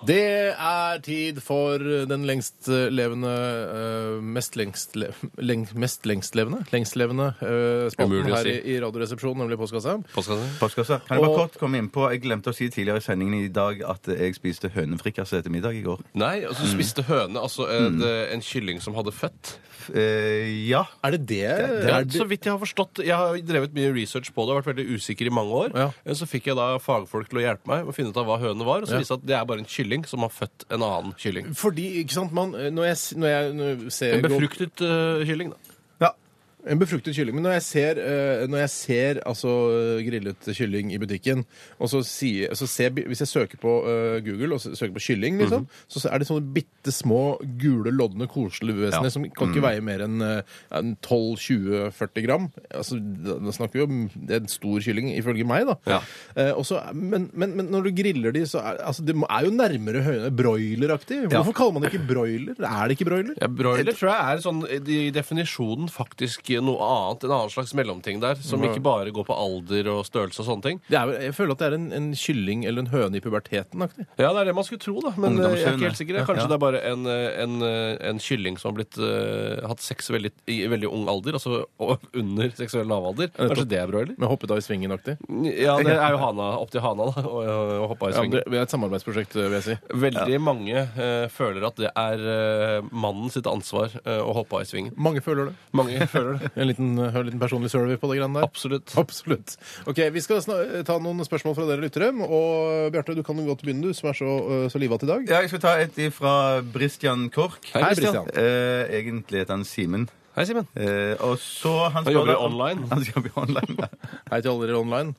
Speaker 1: Det er tid for den lengstlevende uh, Mest lengstlevende leng, Mest lengstlevende? Lengstlevende uh, spalten
Speaker 2: Umulig å
Speaker 1: her
Speaker 2: si.
Speaker 1: i, i Radioresepsjonen, nemlig Postkassa.
Speaker 2: Postkassa. Kan jeg bare
Speaker 1: Og-
Speaker 2: kort komme innpå? Jeg glemte å si tidligere i sendingen i dag at jeg spiste hønefrikassé til middag i går.
Speaker 3: Nei,
Speaker 1: Mm.
Speaker 3: altså du spiste høne, altså en, en kylling som hadde født.
Speaker 2: ja.
Speaker 1: Er det eh, det?
Speaker 3: Ja, så vidt jeg har forstått. Jeg har drevet mye research på det, har vært veldig usikker i mange år. Eh, Så fikk jeg da fagfolk til å hjelpe meg med å finne ut av hva høne var, og så
Speaker 1: Ja.
Speaker 3: viste det seg at det er bare en kylling som har født en annen kylling.
Speaker 1: Fordi, ikke sant, man, eh, når jeg, s- når jeg, når jeg ser
Speaker 3: En befruktet eh, kylling, da.
Speaker 1: En befruktet kylling. Men når jeg ser, eh, når jeg ser altså, eh, grillet kylling i butikken, og så sier, så ser, bi- hvis jeg søker på eh, Google og s- søker på kylling, liksom,
Speaker 3: Mhm.
Speaker 1: så er det sånne bitte små gule, lodne, koselige vesener som kan ikke
Speaker 3: Mm.
Speaker 1: veie mer enn eh, en 12-20-40 gram. Altså, da da snakker vi om det er en stor kylling, ifølge meg, da.
Speaker 3: Ja.
Speaker 1: Eh, og så- men, men, men når du griller de, så er altså, det må- er jo nærmere høne broileraktig.
Speaker 3: Ja.
Speaker 1: Hvorfor kaller man det ikke broiler? Er det ikke broiler?
Speaker 3: Ja, broiler tror jeg er sånn i definisjonen faktisk noe annet. En annen slags mellomting der, som
Speaker 1: Ja.
Speaker 3: ikke bare går på alder og størrelse og sånne ting.
Speaker 1: Det er, vel- jeg føler at det er en, en kylling eller en høne i puberteten-aktig.
Speaker 3: Ja, det er det man skulle tro, da. Men eh, jeg er ikke helt sikker.
Speaker 1: Ja.
Speaker 3: Kanskje
Speaker 1: Ja.
Speaker 3: det er bare en, eh, en, eh, en kylling som har blitt, eh, hatt sex veldig, i veldig ung alder, altså og under seksuell lavalder. Kanskje det er broiler?
Speaker 1: Med hoppet av i svingen-aktig?
Speaker 3: Ja, det er jo hana, opp til hana, da, og, og hoppa i
Speaker 1: Ja,
Speaker 3: svingen.
Speaker 1: det det er et samarbeidsprosjekt, eh, vil jeg si.
Speaker 3: Veldig mange eh, føler at det er eh, mannen sitt ansvar eh, å hoppe av i svingen.
Speaker 1: Mange føler det.
Speaker 3: Mange føler det.
Speaker 1: en, liten, eh, en liten personlig survey på det greiene der.
Speaker 3: Absolutt.
Speaker 1: Absolutt. Ok, Vi skal sna- eh, ta noen spørsmål fra dere lyttere. Og eh, Bjarte, du kan jo godt begynne, du som er så, øh, så livat i dag.
Speaker 2: Ja, jeg skal ta et fra Bristian Kork.
Speaker 1: Hei, Bristian.
Speaker 2: Eh, egentlig heter han Simen. Eh,
Speaker 3: Hei, Simen.
Speaker 2: og så han
Speaker 3: Han jobber
Speaker 2: spør
Speaker 3: i
Speaker 2: om-
Speaker 3: online.
Speaker 2: Han jobber i online, ja.
Speaker 1: Hei til alle dere online.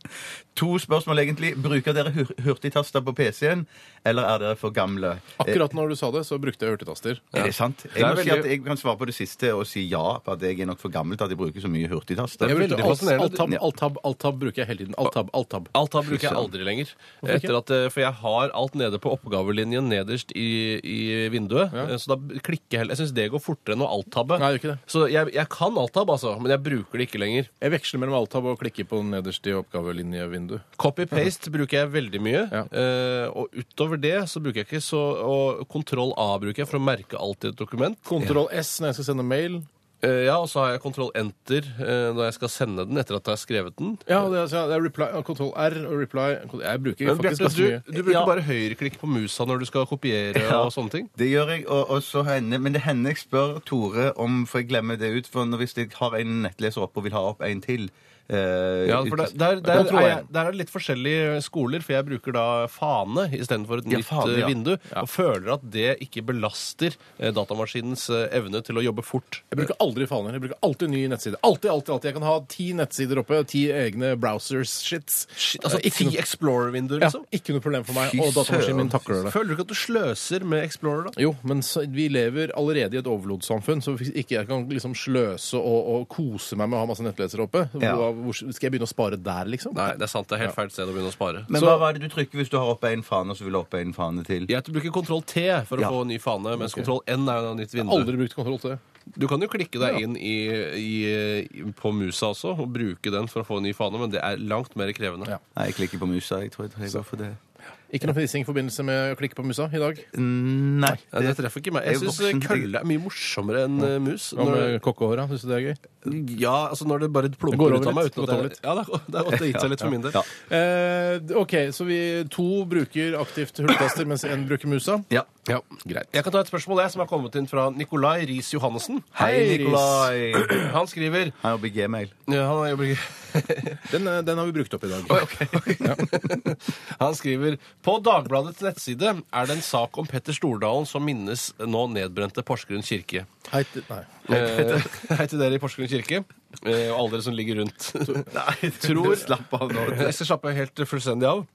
Speaker 2: To spørsmål, egentlig. Bruker dere hur hurtigtaster på PC-en, eller er dere for gamle?
Speaker 1: Akkurat når du sa det, så brukte jeg hurtigtaster.
Speaker 2: Eh, Er det sant? Jeg,
Speaker 1: Det er
Speaker 2: må si
Speaker 1: veldig-
Speaker 2: at jeg kan svare på det siste og si ja på at jeg er nok for gammel til at jeg bruker så mye hurtigtaster.
Speaker 1: Jeg brukte alt- Alt-tab alt-tab, alt-tab bruker jeg hele tiden. Alt-tab, alt-tab.
Speaker 3: Alt-tab bruker jeg aldri lenger.
Speaker 1: Hvorfor ikke?
Speaker 3: Etter at, eh, for jeg har alt nede på oppgavelinjen nederst i, i vinduet. eh, Så da klikker jeg heller. Jeg syns det går fortere enn å alt-tabbe.
Speaker 1: Nei, det gjør ikke det.
Speaker 3: Så Så jeg, jeg kan Altab, altså, men jeg bruker det ikke lenger.
Speaker 1: Jeg veksler mellom Altab og klikker på nederst i oppgavelinjevinduet.
Speaker 3: Copy-paste bruker jeg veldig mye. Eh, og utover det så bruker jeg ikke så Og kontroll-A bruker jeg for å merke alt i et dokument.
Speaker 1: Kontroll-S når jeg skal sende mail.
Speaker 3: Eh, ja, og så har jeg kontroll-enter eh, når jeg skal sende den etter at jeg har skrevet den.
Speaker 1: Ja, det er, så det er reply, kontroll R og reply Jeg bruker
Speaker 3: Men Bjarte,
Speaker 1: faktisk ganske
Speaker 3: du,
Speaker 1: mye.
Speaker 3: du bruker
Speaker 1: Ja.
Speaker 3: bare høyreklikk på musa når du skal kopiere
Speaker 2: Ja.
Speaker 3: og sånne ting?
Speaker 2: Det gjør jeg, og, og så hender, men det hender jeg spør Tore om, for jeg glemmer det ut, for når- hvis jeg har en nettleser opp og vil ha opp en til eh,
Speaker 3: Ja, for der,
Speaker 2: ut-
Speaker 3: der, der,
Speaker 2: Kontroll
Speaker 3: er,
Speaker 2: R.
Speaker 3: jeg, der er det litt forskjellige skoler, for jeg bruker da fane istedenfor et
Speaker 2: Ja,
Speaker 3: nytt
Speaker 2: fane,
Speaker 3: eh,
Speaker 2: ja.
Speaker 3: vindu, og føler at det ikke belaster eh, datamaskinens eh, evne til å jobbe fort.
Speaker 1: Jeg bruker aldri faner. Jeg bruker alltid ny nettside. Alltid, alltid, alltid. Jeg kan ha ti nettsider oppe, ti egne browsers-shits.
Speaker 3: altså, ti Explorer-vinduer, liksom?
Speaker 1: Ja, ikke noe problem for meg.
Speaker 3: Fy
Speaker 1: Og datamaskinen min
Speaker 3: søren.
Speaker 1: takler det.
Speaker 3: Føler du ikke at du sløser med Explorer, da?
Speaker 1: Jo, men så, vi lever allerede i et overflodssamfunn, så hvis ikke jeg kan liksom sløse og, og kose meg med å ha masse nettlesere oppe,
Speaker 2: Ja.
Speaker 1: hvor, hvor, skal jeg begynne å spare der, liksom?
Speaker 3: Nei, det er sant. Det er helt feil sted å begynne å spare.
Speaker 2: Men
Speaker 3: Så-
Speaker 2: hva var det du trykker hvis du har opp en fane, og så vil du ha opp en fane til?
Speaker 3: Jeg bruker kontroll T for å
Speaker 2: Ja.
Speaker 3: få ny fane, mens
Speaker 2: Ok.
Speaker 3: kontroll N er jo da nytt vindu.
Speaker 1: Aldri brukt kontroll til det.
Speaker 3: Du kan jo klikke deg inn i, i, på musa også og bruke den for å få en ny fane, men det er langt mer krevende.
Speaker 2: Nei, jeg klikker på musa. Jeg tror jeg, jeg går for det.
Speaker 1: Ikke noe fnissing i forbindelse med å klikke på musa i dag?
Speaker 2: Nei.
Speaker 3: Nei, det treffer ikke meg. Jeg
Speaker 1: Jeg er
Speaker 3: syns
Speaker 1: voksen.
Speaker 3: kølle er mye morsommere enn eh, mus.
Speaker 1: Hva med kokkehåra? Syns du det er gøy?
Speaker 3: Ja, altså når det bare
Speaker 1: Det går
Speaker 3: plumper ut
Speaker 1: over
Speaker 3: av meg
Speaker 1: litt,
Speaker 3: uten
Speaker 1: gått
Speaker 3: at
Speaker 1: over
Speaker 3: det, Ja, det er- det har gått og gitt seg litt for min del.
Speaker 1: Ja. Eh, OK, så vi to bruker aktivt hulltaster, mens én bruker musa.
Speaker 2: Ja.
Speaker 1: Greit.
Speaker 3: Jeg kan ta et spørsmål jeg, som er kommet inn fra Nikolai Riis Johannessen.
Speaker 2: Hei,
Speaker 3: Riis.
Speaker 2: Nikolai.
Speaker 3: Han skriver
Speaker 2: Han jobber i gmail.
Speaker 3: Ja, han jobber i
Speaker 1: den, eh, den har vi brukt opp i dag.
Speaker 3: Han skriver På Dagbladets nettside er det en sak om Petter Stordalen som minnes nå nedbrente Porsgrunn kirke.
Speaker 1: Hei til Nei.
Speaker 3: Eh, Hei til dere i Porsgrunn kirke, eh, og alle dere som ligger rundt. Nei, tror, slapp av nå. Jeg skal slappe helt fullstendig av.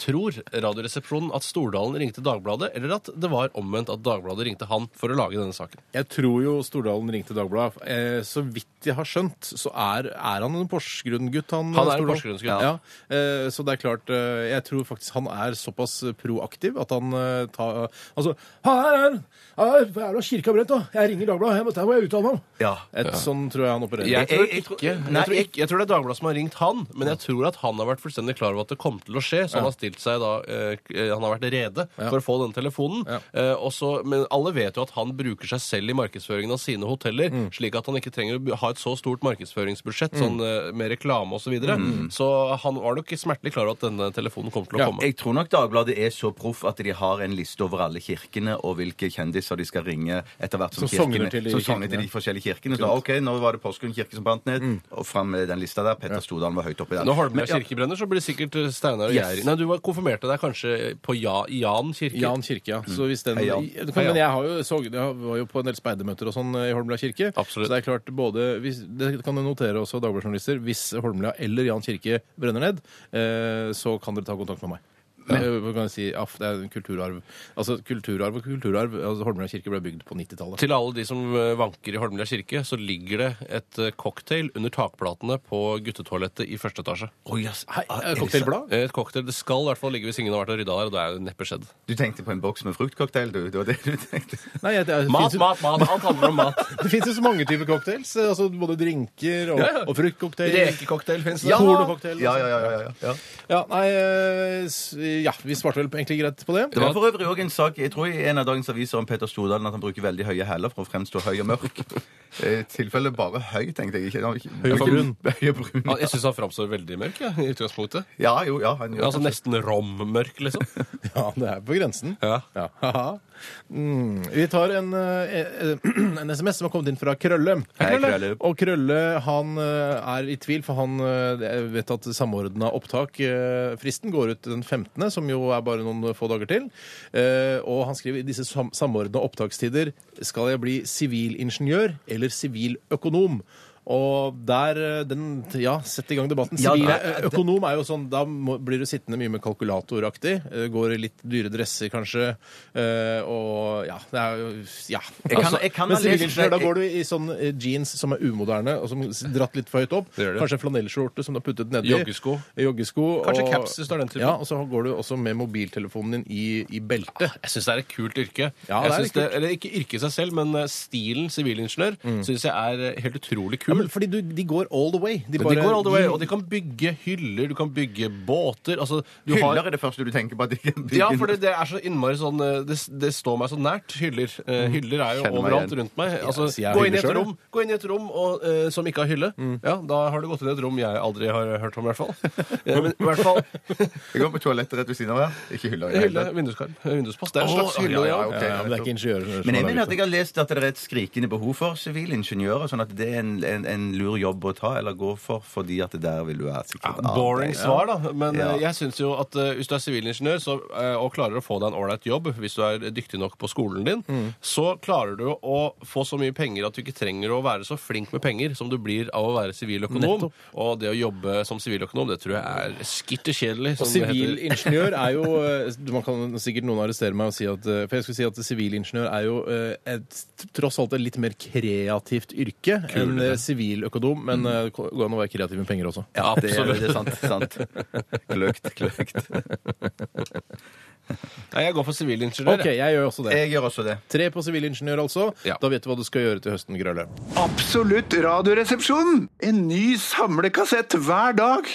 Speaker 3: Tror Radioresepsjonen at Stordalen ringte Dagbladet, eller at det var omvendt at Dagbladet ringte han for å lage denne saken?
Speaker 1: Jeg tror jo Stordalen ringte Dagbladet. Eh, så vidt jeg har skjønt, så er, er han en Porsgrunn-gutt. Han,
Speaker 3: Han er en
Speaker 1: Stordalen.
Speaker 3: Porsgrunn-gutt.
Speaker 1: Ja. Eh, så det er klart eh, Jeg tror faktisk han er såpass proaktiv at han eh, tar Altså Her er den! Her er det kirka brent, da! Jeg ringer Dagbladet. Jeg må, der må jeg uttale meg om!
Speaker 2: Ja.
Speaker 1: Et, Sånn tror jeg han opererer.
Speaker 3: Jeg tror, ikke, jeg, tror ikke, jeg tror det er Dagbladet som har ringt han, men jeg tror at han har vært fullstendig klar over at det kom til å skje, så han
Speaker 1: Ja.
Speaker 3: har stilt seg da eh, k- eh, Han har vært rede
Speaker 1: Ja.
Speaker 3: for å få den telefonen. Eh, og så- men alle vet jo at han bruker seg selv i markedsføringen av sine hoteller,
Speaker 1: Mm.
Speaker 3: slik at han ikke trenger å bu- ha et så stort markedsføringsbudsjett
Speaker 2: Mm.
Speaker 3: sånn, eh, med reklame osv. Så, videre.
Speaker 2: Mm.
Speaker 3: så han var nok smertelig klar over at denne telefonen kom til å
Speaker 2: Ja,
Speaker 3: komme.
Speaker 2: jeg tror nok Dagbladet er så proff at de har en liste over alle kirkene og hvilke kjendiser de skal ringe etter hvert som,
Speaker 1: Som sogner
Speaker 2: kirkene,
Speaker 1: til de
Speaker 2: som sogner til
Speaker 1: kirkene. Mm.
Speaker 2: de forskjellige kirkene. Så, OK, nå var det Porsgrunn kirke som brant ned, og fram med den lista der. Petter Stordalen var høyt oppi der.
Speaker 3: Når Holmlia
Speaker 2: Men- ja.
Speaker 3: kirke brenner, så blir det sikkert eh, Steinar og
Speaker 2: Yes.
Speaker 3: jeg Nei, du var- konfirmerte deg kanskje på ja, Jan kirke?
Speaker 1: Jan kirke, ja. Så hvis den,
Speaker 3: Hei, Jan. Hei,
Speaker 1: Det kan,
Speaker 3: Jan.
Speaker 1: men jeg, har jo, så, jeg var jo på en del speidermøter og sånn i Holmlia kirke. Så det er klart både hvis, Det kan du notere også, dagbladjournalister. Hvis Holmlia eller Jan kirke brenner ned, eh, så kan dere ta kontakt med meg. Eh, hva kan jeg si, aff, det er en kulturarv. Altså, kulturarv og kulturarv. Altså, Holmlia kirke ble bygd på 90-tallet.
Speaker 3: Til alle de som eh, vanker i Holmlia kirke, så ligger det et eh, cocktail under takplatene på guttetoalettet i første etasje.
Speaker 1: Hei,
Speaker 2: Ah,
Speaker 1: eh, cocktailblad?
Speaker 3: Eh, Et cocktail. Det skal i hvert fall ligge hvis ingen har vært og rydda der, og det er jo neppe skjedd.
Speaker 2: Du tenkte på en boks med fruktcocktail, du. Det var det du tenkte.
Speaker 1: Nei, jeg- Eh, det
Speaker 3: Mat,
Speaker 1: finnes jo-
Speaker 3: mat, mat! Alt handler om mat.
Speaker 1: Det fins jo så mange typer cocktails. eh, Altså både drinker og,
Speaker 3: Ja, ja.
Speaker 1: og fruktcocktail.
Speaker 3: Rekecocktail finnes det.
Speaker 1: Ja. Pornococktail.
Speaker 2: Ja, ja, ja, ja, ja. ja.
Speaker 1: Ja, nei, eh, s- ja, vi svarte vel egentlig greit på det.
Speaker 2: Det var for øvrig også en sak jeg tror i en av dagens aviser om Petter Stordalen at han bruker veldig høye hæler for å fremstå høy og mørk. I tilfelle bare høy, tenkte jeg. ikke. Han var ikke-
Speaker 3: Høy
Speaker 2: han
Speaker 3: og
Speaker 2: var
Speaker 3: brun.
Speaker 2: ikke- Høy og brun.
Speaker 3: Ja, Jeg syns han framstår veldig mørk, ja, i utgangspunktet.
Speaker 2: Ja, jo, ja, han gjør
Speaker 3: altså
Speaker 2: kanskje.
Speaker 3: nesten rommørk, liksom.
Speaker 1: Ja, det er på grensen.
Speaker 3: Ja.
Speaker 1: Haha. Mm. Vi tar en, eh, eh, en SMS som har kommet inn fra Krølle.
Speaker 2: Hei, Krølle.
Speaker 1: Og Krølle han eh, er i tvil, for han eh, vet at samordna opptak eh, Fristen går ut den 15., som jo er bare noen få dager til. Eh, Og han skriver i disse sam samordna opptakstider skal jeg bli sivilingeniør eller siviløkonom. Og der eh, den, Ja, sett i gang debatten.
Speaker 18: Ja,
Speaker 1: Sivil,
Speaker 18: nei, det-
Speaker 1: økonom er jo sånn Da må, blir du sittende mye med kalkulatoraktig. eh, Går i litt dyre dresser, kanskje. eh, Og ja. Det er jo Ja.
Speaker 18: Jeg kan- jeg kan
Speaker 1: Altså, men
Speaker 18: ha lest-
Speaker 1: sivilingeniør, da går du i sånn eh, jeans som er umoderne, og som s- dratt litt for høyt opp.
Speaker 18: Det gjør det.
Speaker 1: Kanskje en flanellskjorte som du har puttet nedi.
Speaker 18: Joggesko.
Speaker 1: Joggesko,
Speaker 18: Kanskje
Speaker 1: og-
Speaker 18: caps hvis du er den typen.
Speaker 1: Ja, og så går du også med mobiltelefonen din i, i beltet.
Speaker 18: Ah, Jeg syns det er et kult yrke. jeg
Speaker 1: Ja, det er
Speaker 18: synes
Speaker 1: litt
Speaker 18: det,
Speaker 1: kult. Mm.
Speaker 18: eller ikke yrket i seg selv, men eh, stilen sivilingeniør synes syns jeg er eh, helt utrolig kul.
Speaker 1: Ja, men fordi du, de går all the way.
Speaker 18: de,
Speaker 1: bare-
Speaker 18: går all the way, og de kan bygge hyller, du kan bygge båter altså, du
Speaker 2: Hyller
Speaker 18: har...
Speaker 2: er det første du tenker på. at de kan bygge
Speaker 18: Ja, for det, det er så innmari sånn eh, det, det står meg så nært, hyller. Eh, Hyller er jo
Speaker 1: Mm. Kjenner meg
Speaker 18: overalt
Speaker 1: igjen.
Speaker 18: rundt meg.
Speaker 1: Ja,
Speaker 18: Altså,
Speaker 1: så jeg er
Speaker 18: gå, inn i et
Speaker 1: hyller selv,
Speaker 18: rom, gå inn i et rom og, eh, som ikke har hylle.
Speaker 1: Mm.
Speaker 18: Ja, Da har du gått inn i et rom jeg aldri har hørt om, i hvert fall. Eh, men i hvert fall
Speaker 2: Jeg går på toalettet rett ved siden av her. Ikke hyller. i det hele
Speaker 18: hylle,
Speaker 2: tatt.
Speaker 18: vinduskarm, eh, vinduspost. Det er en
Speaker 2: Å,
Speaker 18: slags hylle,
Speaker 2: ja,
Speaker 18: ja.
Speaker 2: ja, ok, Ja, ja, men det er ikke
Speaker 1: ingeniører
Speaker 18: Eh,
Speaker 1: som
Speaker 14: Men jeg mener at jeg har lest at det er et skrikende behov for sivilingeniører, sånn at det er en, en, en lur jobb å ta eller gå for, fordi at det der vil du være sikkert arbeid.
Speaker 18: Boring svar, da. Men
Speaker 14: Ja.
Speaker 18: eh, jeg syns jo at eh, hvis du er sivilingeniør så, eh, og klarer å få deg en ålreit jobb, hvis du er dyktig nok på skolen din,
Speaker 1: Mm.
Speaker 18: så klarer du å få så mye penger at du ikke trenger å være så flink med penger som du blir av å være siviløkonom. Og det å jobbe som siviløkonom, det tror jeg er skitterkjedelig.
Speaker 1: Og
Speaker 18: som det heter.
Speaker 1: sivilingeniør er jo eh, Man kan sikkert noen arrestere meg og si at eh, For jeg skulle si at sivilingeniør er jo eh, et, tross alt et litt mer kreativt yrke enn eh, siviløkonom, men eh, det går an å være kreativ med penger også.
Speaker 14: Ja, det er- det er sant, sant. Kløkt, kløkt.
Speaker 18: Nei, jeg går for sivilingeniør.
Speaker 1: Ok, jeg gjør også det.
Speaker 14: Jeg gjør også det.
Speaker 1: Tre på sivilingeniør, altså. Da vet du hva du skal gjøre til høsten, Grølle.
Speaker 4: Absolutt radioresepsjon! En ny samlekassett hver dag.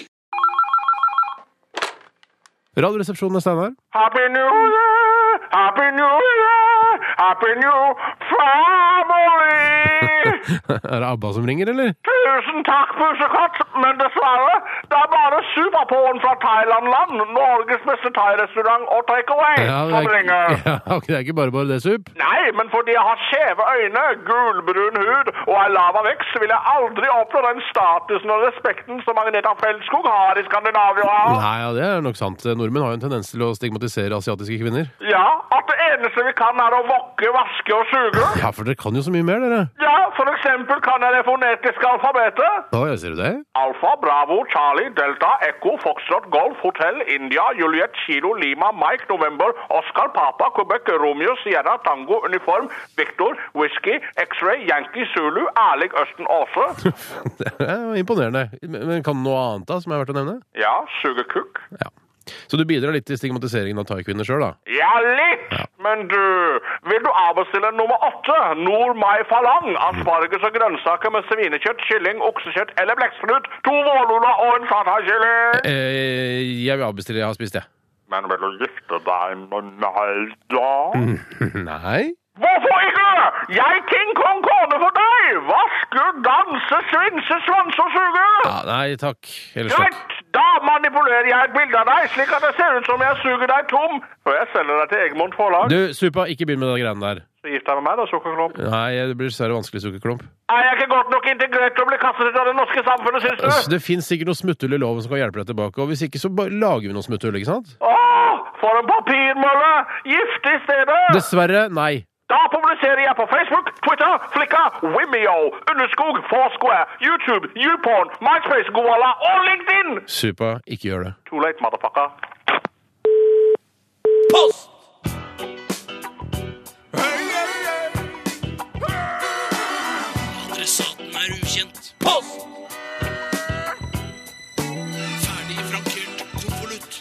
Speaker 1: Radioresepsjonen er Steinar.
Speaker 19: Happy New Year! Happy New Year! Happy New Family!
Speaker 1: er det ABBA som ringer, eller?
Speaker 19: Tusen takk, pusekatt, men dessverre, det er bare superpåen fra Thailand-land, Norges beste thai-restaurant og takeaway, som
Speaker 1: det, er,
Speaker 19: ringer.
Speaker 1: ja, ok, det er ikke bare bare det, Sup.
Speaker 19: Nei, men fordi jeg har skjeve øyne, gulbrun hud og ei lava vekst, vil jeg aldri oppnå den statusen og respekten som Agneta Feltskog har i Skandinavia.
Speaker 1: Nei, ja, det er nok sant. Nordmenn har jo en tendens til å stigmatisere asiatiske kvinner.
Speaker 19: Ja, at det eneste vi kan er å vokke, vaske og suge.
Speaker 1: Ja, for dere kan jo så mye mer, dere.
Speaker 19: Ja, for eksempel kan jeg det fonetiske alfabetet.
Speaker 1: Å, ja, ser du det?
Speaker 19: Alfa, Bravo, Charlie, Delta, Echo, Foxtrot, Golf, Hotel, India, Juliet, Kilo, Lima, Mike, November, Oscar, Papa, Quebec, Romeo, Sierra, Tango, Uniform, Victor, Whisky, X-Ray, Yankee, Zulu, Erling, Østen, Aase.
Speaker 1: Det er jo imponerende. Men men kan noe annet da, som er verdt å nevne?
Speaker 19: Ja, sugekukk.
Speaker 1: Så du bidrar litt til stigmatiseringen av thai-kvinner sjøl, da?
Speaker 19: Ja, litt! Men du, vil du avbestille nummer åtte? Nordmai Falang. Asparges og grønnsaker med svinekjøtt, kylling, oksekjøtt eller blekksprut. To vårluller og en satakylling.
Speaker 1: Eh, jeg vil avbestille. Jeg har spist, jeg.
Speaker 19: Men vil du gifte deg med meg da?
Speaker 1: Nei?
Speaker 19: Hvorfor ikke? Jeg King Kong kone for deg! Vaske, danse, svinse, svanse og suge!
Speaker 1: Ja, nei takk. Ellers takk.
Speaker 19: Greit, da manipulerer jeg et bilde av deg, slik at det ser ut som jeg suger deg tom, før jeg selger deg til Egmont forlag.
Speaker 1: Du, Supa, ikke begynn med de greiene der.
Speaker 19: Så gift deg med meg da, sukkerklump.
Speaker 1: Nei, det blir dessverre vanskelig, sukkerklump.
Speaker 19: Er jeg ikke godt nok integrert til å bli kastet ut av det norske samfunnet, synes
Speaker 1: Altså,
Speaker 19: du?
Speaker 1: det fins sikkert noe smutthull i loven som kan hjelpe deg tilbake, og hvis ikke så bare lager vi noe smutthull, ikke sant?
Speaker 19: Åh, for en papirmølle! Gift i stedet!
Speaker 1: Dessverre, nei.
Speaker 19: Da publiserer jeg på Facebook, Twitter, Flickr, Vimeo, Underskog, Foursquare, YouTube, YouPorn, MySpace, Goala og LinkedIn!
Speaker 1: Supa, ikke gjør det.
Speaker 19: Too late, motherfucker.
Speaker 20: Post!
Speaker 11: Adressaten er ukjent. Post! Ferdig frankert konvolutt.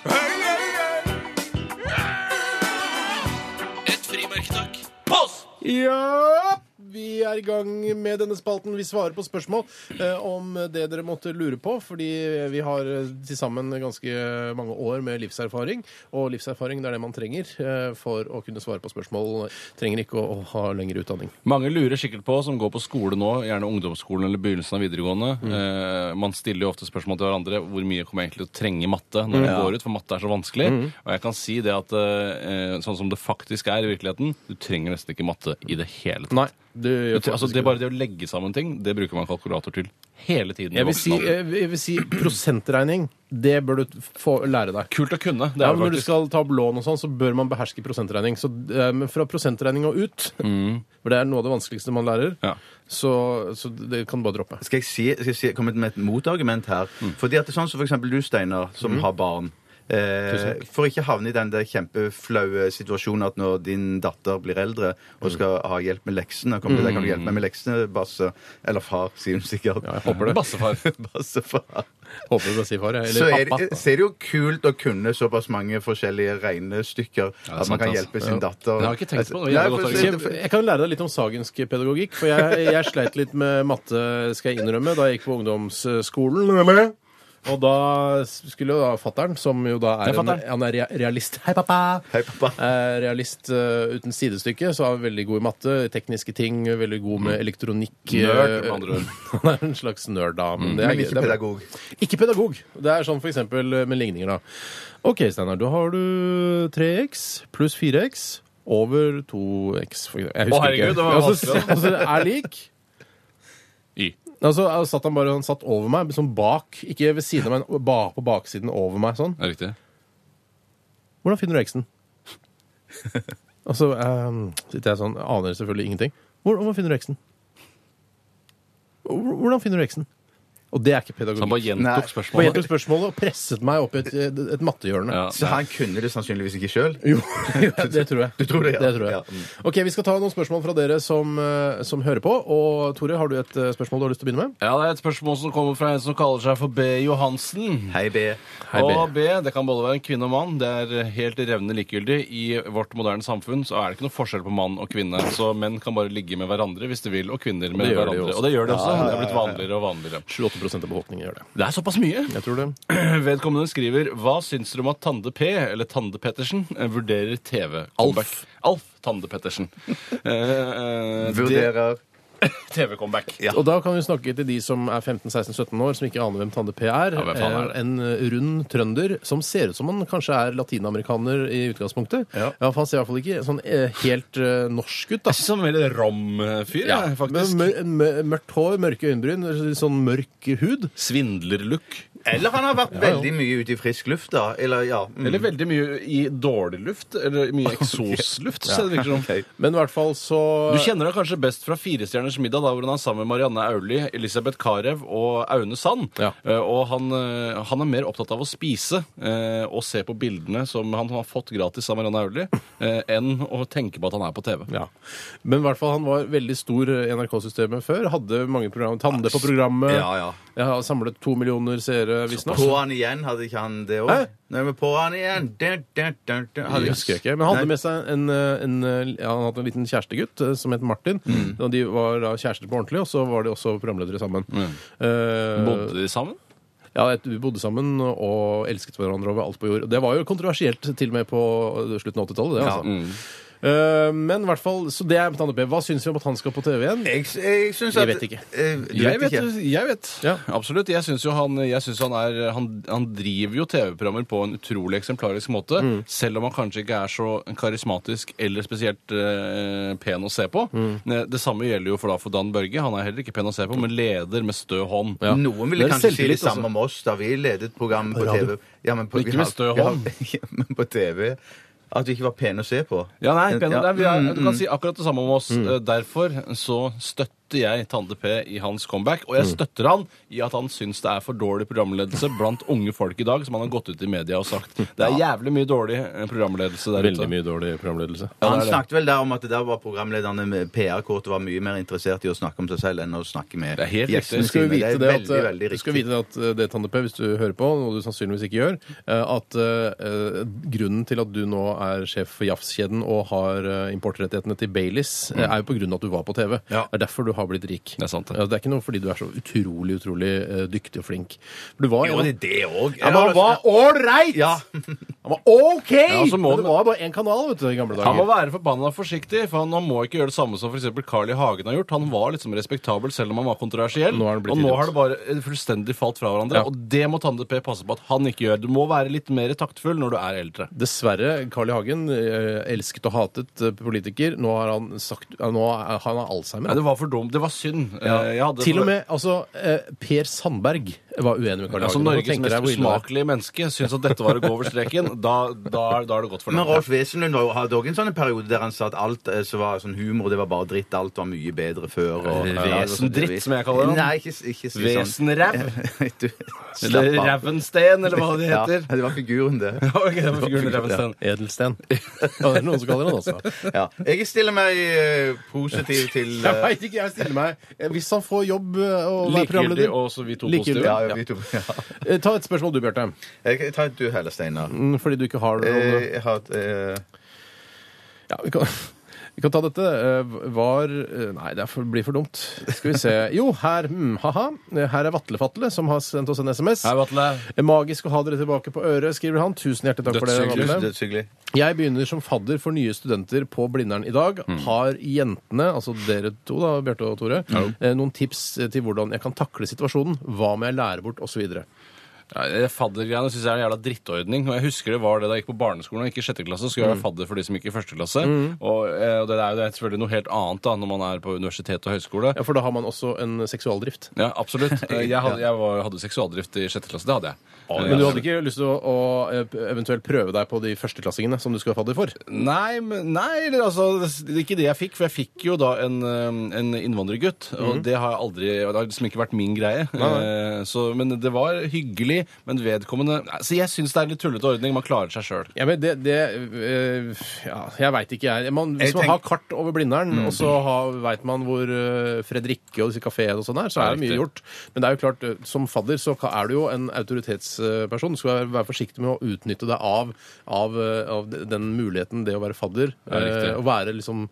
Speaker 11: Et frimerke, takk. Post!
Speaker 1: Ja, vi er i gang med denne spalten. Vi svarer på spørsmål eh, om det dere måtte lure på, fordi vi har eh, til sammen ganske mange år med livserfaring, og livserfaring det er det man trenger eh, for å kunne svare på spørsmål. Trenger ikke å, å ha lengre utdanning.
Speaker 3: Mange lurer sikkert på, som går på skole nå, gjerne ungdomsskolen eller begynnelsen av videregående.
Speaker 1: Mm.
Speaker 3: Eh, man stiller jo ofte spørsmål til hverandre hvor mye kommer jeg egentlig til å trenge matte når
Speaker 18: Mm.
Speaker 3: jeg
Speaker 18: Ja.
Speaker 3: går ut, for matte er så vanskelig.
Speaker 18: Mm.
Speaker 3: Og jeg kan si det at eh, sånn som det faktisk er i virkeligheten, du trenger nesten ikke matte i det hele tatt.
Speaker 1: Nei, du gjør
Speaker 3: jeg tror- altså, det er bare det å legge sammen ting, det bruker man kalkulator til hele tiden. i
Speaker 1: Jeg vil si,
Speaker 3: voksen alder.
Speaker 1: jeg vil- jeg vil si prosentregning. Det bør du få lære deg.
Speaker 3: Kult å kunne. det
Speaker 1: ja,
Speaker 3: er
Speaker 1: men når du
Speaker 3: faktisk.
Speaker 1: skal ta opp lån og sånn, så bør man beherske prosentregning. Så eh, men fra prosentregning og ut,
Speaker 3: Mm.
Speaker 1: for det er noe av det vanskeligste man lærer, så, så det kan du bare droppe.
Speaker 2: Skal jeg, si, skal jeg si, komme med et motargument her?
Speaker 14: Mm.
Speaker 2: Fordi at det er sånn som for eksempel du, Steinar, som har barn. Eh,
Speaker 14: Mhm. Tusen takk.
Speaker 2: for ikke havne i den der kjempeflaue situasjonen at når din datter blir eldre
Speaker 14: Mm.
Speaker 2: og skal ha hjelp med leksene Kommer til deg, kan du hjelpe meg med leksene, Basse? Eller far, sier hun sikkert. Ja, jeg
Speaker 1: håper det.
Speaker 3: Bassefar.
Speaker 2: Bassefar.
Speaker 1: Håper du bare sier far, jeg,
Speaker 2: Så er,
Speaker 1: eller pappa.
Speaker 2: det- så er det jo kult å kunne såpass mange forskjellige regnestykker
Speaker 1: Ja, det
Speaker 2: at
Speaker 1: er
Speaker 2: man
Speaker 1: sant,
Speaker 2: kan
Speaker 1: altså.
Speaker 2: hjelpe sin
Speaker 1: Ja.
Speaker 2: datter. Altså,
Speaker 1: Det har jeg ikke tenkt på. Det var
Speaker 2: Nei,
Speaker 1: jævlig
Speaker 2: for-
Speaker 1: godt argument. Kjempe- Jeg kan lære deg litt om sagensk pedagogikk, for jeg, jeg sleit litt med matte, skal jeg innrømme, da jeg gikk på ungdomsskolen. Og da skulle jo da fattern, som jo da
Speaker 3: Hei,
Speaker 1: er, en,
Speaker 3: fatteren.
Speaker 1: han er rea- realist Hei, pappa! Er realist eh, uten sidestykke, så har veldig god i matte, tekniske ting, veldig god med elektronikk.
Speaker 3: Nerd,
Speaker 1: eh,
Speaker 3: med andre ord.
Speaker 1: Han er en slags nerd, da.
Speaker 3: Mm.
Speaker 1: det er-
Speaker 3: Men ikke
Speaker 1: det er-
Speaker 3: pedagog.
Speaker 1: Ikke pedagog. Det er sånn for eksempel eh, med ligninger, da. OK, Steinar, da har du 3x pluss 4x over 2x. For eksempel. jeg
Speaker 3: Å,
Speaker 1: husker
Speaker 3: herregud,
Speaker 1: ikke.
Speaker 3: det var
Speaker 1: altså,
Speaker 3: vanskelig, da.
Speaker 1: altså, er lik
Speaker 3: Y.
Speaker 1: Altså, altså, satt han bare han satt over meg, sånn bak. Ikke ved siden av meg, men ba, på baksiden over meg. sånn.
Speaker 3: Det er riktig.
Speaker 1: Hvordan finner du X-en? Og så ehm, sitter jeg sånn, aner selvfølgelig ingenting. Hvor- Hvordan finner du X-en? Hvor- Hvordan finner du X-en? Og det er ikke pedagogikk.
Speaker 3: Så han bare gjentok
Speaker 1: Nei.
Speaker 3: spørsmålet.
Speaker 1: Bare gjentok spørsmålet og presset meg opp i et, et mattehjørne.
Speaker 2: Så han kunne det sannsynligvis ikke sjøl?
Speaker 1: Jo, det tror jeg.
Speaker 2: Du tror det, ja.
Speaker 1: Det tror jeg.
Speaker 2: Ja. Mm.
Speaker 1: Ok, Vi skal ta noen spørsmål fra dere som, eh, som hører på. Og Tore, har du et eh, spørsmål du har lyst til å begynne med?
Speaker 3: Ja, det er et spørsmål som kommer fra en som kaller seg for B. Johansen.
Speaker 2: Hei, B.
Speaker 1: Hei, B.
Speaker 3: Og B, det kan både være en kvinne og mann. Det er helt revnende likegyldig. I vårt moderne samfunn så er det ikke noe forskjell på mann og kvinne. Så menn kan bare ligge med hverandre hvis de vil, og kvinner med
Speaker 1: Det gjør de
Speaker 3: hverandre.
Speaker 1: også.
Speaker 3: og det gjør de også.
Speaker 1: Ja, ja, ja,
Speaker 3: Det er blitt
Speaker 1: ja.
Speaker 3: vanligere og vanligere.
Speaker 1: 28 av befolkningen gjør det.
Speaker 3: Det er såpass mye.
Speaker 1: Jeg tror det.
Speaker 3: Vedkommende skriver Hva syns dere om at Tande P, eller Tande Pettersen, eh, vurderer TV? Alf. Alf Tande Pettersen. Eh, eh, det-
Speaker 1: Vurderer.
Speaker 3: TV-comeback.
Speaker 1: Og da kan vi snakke til de som er 15-16-17 år, som ikke aner hvem Tande P er.
Speaker 3: Ja, hvem faen er det?
Speaker 1: Eh, en rund trønder som ser ut som han kanskje er latinamerikaner i utgangspunktet. Ja. for han ser i hvert fall ikke sånn eh, helt eh, norsk ut, da.
Speaker 3: Jeg syns han er veldig eh, rom-fyr,
Speaker 1: ja,
Speaker 3: jeg,
Speaker 1: faktisk. Mør mør- mørkt hår, mørke øyenbryn, sånn mørk hud.
Speaker 3: Svindlerlook.
Speaker 2: Eller han har vært
Speaker 1: Ja, ja.
Speaker 2: veldig mye ute i frisk luft, da. Eller, ja. mm.
Speaker 3: Eller veldig mye i dårlig luft, eller mye eksosluft. så det virker som.
Speaker 1: Men i hvert fall så
Speaker 3: Du kjenner deg kanskje best fra Firestjerners middag, da, hvor han er sammen med Marianne Aulie, Elisabeth Carew og Aune Sand. Eh, og han, eh, han er mer opptatt av å spise eh, og se på bildene som han har fått gratis av Marianne Aulie, eh, enn å tenke på at han er på TV.
Speaker 1: Men i hvert fall han var veldig stor i NRK-systemet før. Hadde mange program, Tande på programmet.
Speaker 2: Ja, ja.
Speaker 1: Jeg har samlet to millioner seere, visstnok.
Speaker 2: På han igjen, hadde ikke han det òg? Nei, men på han igjen dun, dun, dun, dun. Hadde-
Speaker 1: Jeg husker ikke. Men han
Speaker 2: Nei.
Speaker 1: hadde med seg en, eh, en, ja, han hadde en liten kjærestegutt eh, som het Martin.
Speaker 2: Mm.
Speaker 1: Og de var da kjærester på ordentlig, og så var de også programledere sammen. Eh,
Speaker 3: Bodde de sammen?
Speaker 1: Ja, vi bodde sammen og elsket hverandre over alt på jord. Og Det var jo kontroversielt til og med på eh, slutten av 80-tallet. det,
Speaker 2: Ja. Mm.
Speaker 1: Altså. Eh, men i hvert fall, så det er Tande P. Hva syns vi om at han skal på TV igjen?
Speaker 2: Jeg, jeg syns at-
Speaker 1: Vi vet ikke.
Speaker 2: eh,
Speaker 3: Jeg vet, jeg vet. Absolutt. Jeg syns jo han, jeg synes han er han, han driver jo TV-programmer på en utrolig eksemplarisk måte.
Speaker 1: Mm.
Speaker 3: Selv om han kanskje ikke er så karismatisk eller spesielt eh, pen å se på.
Speaker 1: Mm.
Speaker 3: Eh, Det samme gjelder jo for, da, for Dan Børge. Han er heller ikke pen å se på, men leder med stø hånd.
Speaker 2: Noen ville kanskje si
Speaker 1: altså.
Speaker 2: det samme om oss da vi ledet program på,
Speaker 3: På radio.
Speaker 2: TV. Ja, men på,
Speaker 3: altså. Ikke
Speaker 2: vi
Speaker 3: med
Speaker 2: har-
Speaker 3: stø
Speaker 2: vi har-
Speaker 3: hånd.
Speaker 2: Ja, men på TV At vi ikke var pene å se på.
Speaker 3: Ja, nei, pen,
Speaker 2: Ja.
Speaker 3: nei, vi er, Du
Speaker 2: Mm, mm.
Speaker 3: kan si akkurat det samme om oss. Eh, Derfor så støtter jeg Tande P i hans comeback. Og jeg
Speaker 1: Mm.
Speaker 3: støtter han i at han syns det er for dårlig programledelse blant unge folk i dag, som han har gått ut i media og sagt. Det er jævlig mye dårlig eh, programledelse der ute.
Speaker 1: Veldig mye dårlig programledelse.
Speaker 2: han snakket vel der om at det der var programlederne med PR-kortet var mye mer interessert i å snakke om seg selv enn å snakke med gjestene
Speaker 1: Du
Speaker 2: sine.
Speaker 1: skal jo vite
Speaker 2: Det er
Speaker 1: det, at,
Speaker 2: veldig, veldig
Speaker 1: du
Speaker 2: riktig.
Speaker 1: skal vite det at eh, det, Tande P, hvis du hører på, noe du sannsynligvis ikke gjør, eh, at eh, eh, grunnen til at du nå er sjef for Jafs-kjeden og har eh, importrettighetene til Baileys, eh,
Speaker 3: Mm.
Speaker 1: er jo på grunn av at du var på TV. Det er derfor du har blitt rik. Det er sant. Det, er ikke noe fordi du er så utrolig, utrolig eh, dyktig og flink. For Du var
Speaker 2: Jo, det er det òg.
Speaker 1: Ja, men han var ålreit!
Speaker 2: Ja.
Speaker 1: Han Han var OK!
Speaker 3: altså, Ja, så må
Speaker 1: men det
Speaker 3: han-
Speaker 1: var bare én kanal vet du, i gamle dager.
Speaker 3: Han må være forbanna forsiktig, for han, han må ikke gjøre det samme som for eksempel Carl I. Hagen har gjort. Han var liksom respektabel selv om han var kontroversiell.
Speaker 1: Nå har han blitt
Speaker 3: og nå
Speaker 1: idiot.
Speaker 3: har det bare eh, fullstendig falt fra hverandre.
Speaker 1: Ja.
Speaker 3: Og det må Tande P passe på at han ikke gjør. Du må være litt mer taktfull når du er eldre.
Speaker 1: Dessverre, Carl I. Hagen, eh, elsket og hatet eh, politiker. Nå har han sagt ja, Nå er, han har alzheimer.
Speaker 3: Nei, det var for dumt. Det var synd.
Speaker 1: Ja.
Speaker 3: Eh, jeg hadde-
Speaker 1: Til og med altså, eh, Per Sandberg var uenig med Carl I.
Speaker 3: Ja, Altså, som
Speaker 1: Hagen. Nå
Speaker 3: Norges
Speaker 1: tenker jeg
Speaker 3: mest
Speaker 1: hvor ille det er.
Speaker 3: usmakelige menneske syns at dette var å gå over streken, da, da, er- da er det godt for
Speaker 2: Men
Speaker 3: langt.
Speaker 2: Rolf Wesenlund var jo- hadde også en sånn periode der han sa at alt eh, som var sånn humor, det var bare dritt, alt var mye bedre før. og-
Speaker 3: Vesendritt, som jeg kaller det.
Speaker 2: sånn Nei, ikke, ikke si sånn.
Speaker 3: Vesenræv.
Speaker 2: Du, slapp
Speaker 3: Eller
Speaker 2: av.
Speaker 3: Rævensten, eller hva det heter.
Speaker 2: Ja, det var figuren, det.
Speaker 3: Ok, det var figuren Rævensten.
Speaker 1: Ja, Edelsten. Ja, det er noen som kaller han også.
Speaker 2: Ja. Jeg stiller meg eh, positiv til
Speaker 1: Jeg
Speaker 2: eh,
Speaker 1: veit ikke, jeg stiller meg Eh, Hvis han får jobb eh, og er
Speaker 2: Likegyldig,
Speaker 1: programleder
Speaker 2: og så vi to positive.
Speaker 1: Ja,
Speaker 2: Ja, ja, vi to, ja.
Speaker 1: Eh, Ta et spørsmål du, Bjarte.
Speaker 2: Jeg tar et du heller, Steinar.
Speaker 1: Mm, Fordi du ikke har det.
Speaker 2: Eh,
Speaker 1: Ronny.
Speaker 2: Jeg har et eh,
Speaker 1: Ja, vi kan, vi kan ta dette. Eh, Var eh, Nei, det er for- blir for dumt. Skal vi se. Jo, her hmm, ha-ha. Her er Vatlefatle, som har sendt oss en SMS.
Speaker 3: Hei, Vatle.
Speaker 1: Eh, Magisk å ha dere tilbake på øret, skriver han. Tusen hjertelig takk for det.
Speaker 3: Dødshyggelig.
Speaker 1: Vatle.
Speaker 2: Dødshyggelig.
Speaker 1: Jeg begynner som fadder for nye studenter på Blindern i dag. Har jentene, altså dere to, da, Bjarte og Tore, eh, noen tips eh, til hvordan jeg kan takle situasjonen? Hva må jeg lære bort, osv.?
Speaker 3: Ja, det Faddergreiene syns jeg er en jævla drittordning. Og jeg husker det var det da jeg gikk på barneskolen og gikk i sjette klasse, så skulle jeg være
Speaker 1: Mm.
Speaker 3: fadder for de som gikk i første klasse.
Speaker 1: Mm.
Speaker 3: Og, eh, og det er jo det er selvfølgelig noe helt annet da når man er på universitet og høyskole.
Speaker 1: Ja, for da har man også en seksualdrift.
Speaker 3: Ja, absolutt. Eh, Jeg hadde, jeg var, hadde seksualdrift i sjette klasse. Det hadde jeg. Eh,
Speaker 1: Men du hadde ikke lyst til å, å eh, eventuelt prøve deg på de førsteklassingene som du skulle være fadder for?
Speaker 3: Nei, men- nei eller altså, det er ikke det jeg fikk. For jeg fikk jo da en, eh, en innvandrergutt. Og
Speaker 1: Mhm.
Speaker 3: det har jeg aldri og Det har liksom ikke vært min greie.
Speaker 1: Nei, nei.
Speaker 3: Eh, Så, men det var hyggelig. Men vedkommende Så jeg syns det er en litt tullete ordning. Man klarer seg sjøl.
Speaker 1: Ja, men det, det øh,
Speaker 3: eh,
Speaker 1: ja, Jeg veit ikke, jeg. Man, hvis
Speaker 3: Jeg
Speaker 1: man
Speaker 3: tenk-
Speaker 1: har kart over Blindern,
Speaker 3: Mm.
Speaker 1: og så veit man hvor øh, Fredrikke og disse kafeene og sånn er, så
Speaker 3: Ja,
Speaker 1: er det mye
Speaker 3: riktig.
Speaker 1: gjort. Men det er jo klart, øh, som fadder så ka- er du jo en autoritetsperson. Du skal være- være forsiktig med å utnytte deg av, av, øh, av de- den muligheten det å være fadder.
Speaker 2: Ja, riktig.
Speaker 1: øh, Å være liksom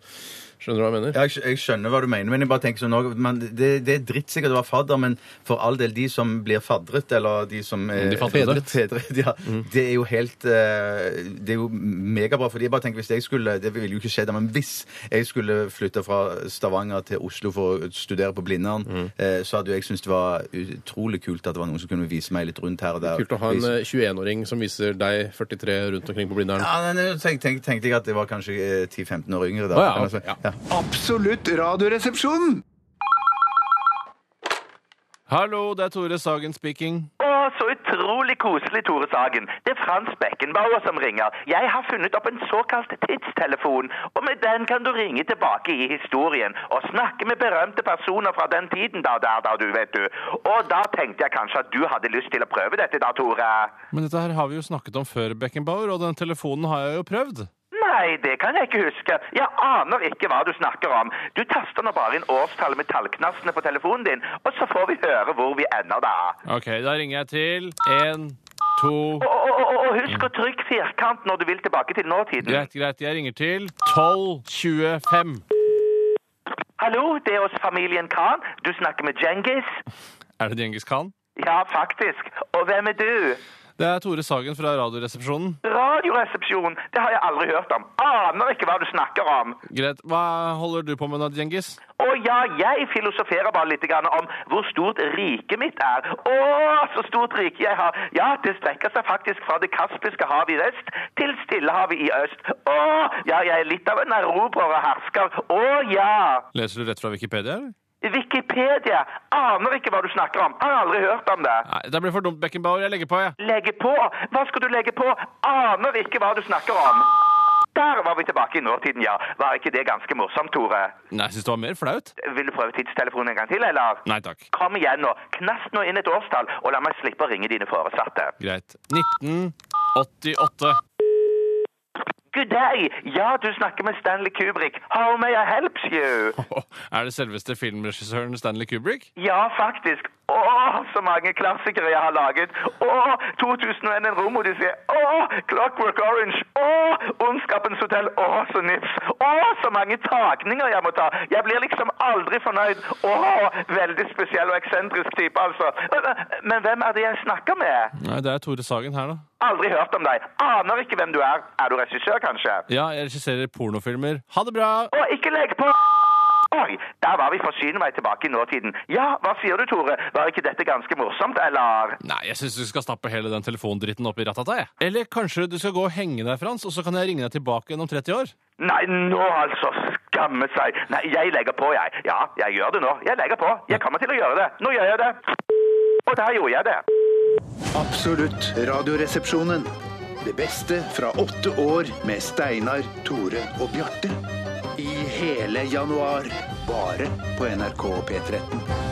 Speaker 1: Skjønner du hva jeg mener?
Speaker 2: Jeg, jeg skjønner hva du mener, men jeg bare tenker sånn også, man, det, det er dritt sikkert å være fadder, men for all del, de som blir fadret, eller de
Speaker 1: Mm,
Speaker 2: som er
Speaker 3: De fadrede.
Speaker 2: fedret, ja, det er jo helt eh, Det er jo megabra, fordi jeg bare tenker hvis jeg skulle Det ville jo ikke skjedd, men hvis jeg skulle flytte fra Stavanger til Oslo for å studere på Blindern,
Speaker 1: Mm.
Speaker 2: eh, så hadde jo jeg syntes det var utrolig kult at det var noen som kunne vise meg litt rundt her og der.
Speaker 1: Kult å ha en
Speaker 2: Vise-
Speaker 1: øh, 21-åring som viser deg 43 rundt omkring på Blindern.
Speaker 2: ja, nei, nei, tenk, tenk, tenkte jeg at jeg var kanskje eh, 10-15 år yngre da.
Speaker 1: Å, ja,
Speaker 2: Men altså, ja.
Speaker 4: Absolutt radioresepsjon!
Speaker 3: Hallo, det er Tore Sagen speaking.
Speaker 12: Å, så utrolig koselig, Tore Sagen. Det er Frans Beckenbauer som ringer. Jeg har funnet opp en såkalt tidstelefon, og med den kan du ringe tilbake i historien og snakke med berømte personer fra den tiden da, der, da, du vet du. Og da tenkte jeg kanskje at du hadde lyst til å prøve dette da, Tore.
Speaker 3: Men dette her har vi jo snakket om før, Beckenbauer, og den telefonen har jeg jo prøvd.
Speaker 12: Nei, det kan jeg ikke huske. Jeg aner ikke hva du snakker om. Du taster nå bare inn årstallet med tallknastene på telefonen din, og så får vi høre hvor vi ender da.
Speaker 3: OK, da ringer jeg til én, to
Speaker 12: Og, og, og, og husk å trykke firkant når du vil tilbake til nåtiden.
Speaker 3: Greit, greit. Jeg ringer til 1225.
Speaker 12: Hallo, det er oss familien Khan. Du snakker med Djengis?
Speaker 3: Er det Djengis Khan?
Speaker 12: Ja, faktisk. Og hvem er du?
Speaker 3: Det er Tore Sagen fra Radioresepsjonen.
Speaker 12: Radioresepsjon, det har jeg aldri hørt om. Aner ikke hva du snakker om.
Speaker 3: Greit. Hva holder du på med nå, Djengis?
Speaker 12: Å ja, jeg filosoferer bare litt grann om hvor stort riket mitt er. Å, så stort rike jeg har. Ja, det strekker seg faktisk fra det kaspiske havet i vest til Stillehavet i øst. Å, ja, jeg er litt av en erobrer og hersker. Å ja.
Speaker 3: Leser du rett fra Wikipedia, eller?
Speaker 12: Wikipedia. Aner ikke hva du snakker om. Har aldri hørt om det.
Speaker 3: Nei, det blir for dumt, Beckenbauer. Jeg legger på, jeg.
Speaker 12: Legge på? Hva skal du legge på? Aner ikke hva du snakker om. Der var vi tilbake i nåtiden, ja. Var ikke det ganske morsomt, Tore?
Speaker 3: Nei, jeg syns det var mer flaut.
Speaker 12: Vil du prøve tidstelefonen en gang til, eller?
Speaker 3: Nei takk.
Speaker 12: Kom igjen nå. Knast nå inn et årstall, og la meg slippe å ringe dine foresatte.
Speaker 3: Greit. 1988.
Speaker 12: Good day! Ja, du snakker med Stanley Kubrick. How may I help you?
Speaker 3: Er det selveste filmregissøren Stanley Kubrick?
Speaker 12: Ja, faktisk. Åh, så mange klassikere jeg har laget. Åh, 2001 en romodyssé. Åh, Clockwork Orange. Åh, Ondskapens hotell. Åh, så nips. Åh, så mange tagninger jeg må ta. Jeg blir liksom aldri fornøyd. Åh, veldig spesiell og eksentrisk type, altså. Men hvem er det jeg snakker med?
Speaker 3: Nei, det er Tore Sagen her, da.
Speaker 12: Aldri hørt om deg. Aner ikke hvem du er. Er du regissør, kanskje?
Speaker 3: Ja, jeg regisserer pornofilmer. Ha det bra!
Speaker 12: Å, ikke legg på! Oi, der var vi forsyne meg tilbake i nåtiden. Ja, hva sier du, Tore? Var ikke dette ganske morsomt, eller?
Speaker 3: Nei, jeg syns du skal stappe hele den telefondritten opp i rattata, jeg. Eller kanskje du skal gå og henge deg, Frans, og så kan jeg ringe deg tilbake igjen om 30 år?
Speaker 12: Nei, nå altså, skamme seg. Nei, jeg legger på, jeg. Ja, jeg gjør det nå. Jeg legger på. Jeg kommer til å gjøre det. Nå gjør jeg det. Og der gjorde jeg det.
Speaker 4: Absolutt radioresepsjonen. Det beste fra åtte år med Steinar, Tore og Bjarte. I hele januar, bare på NRK P13.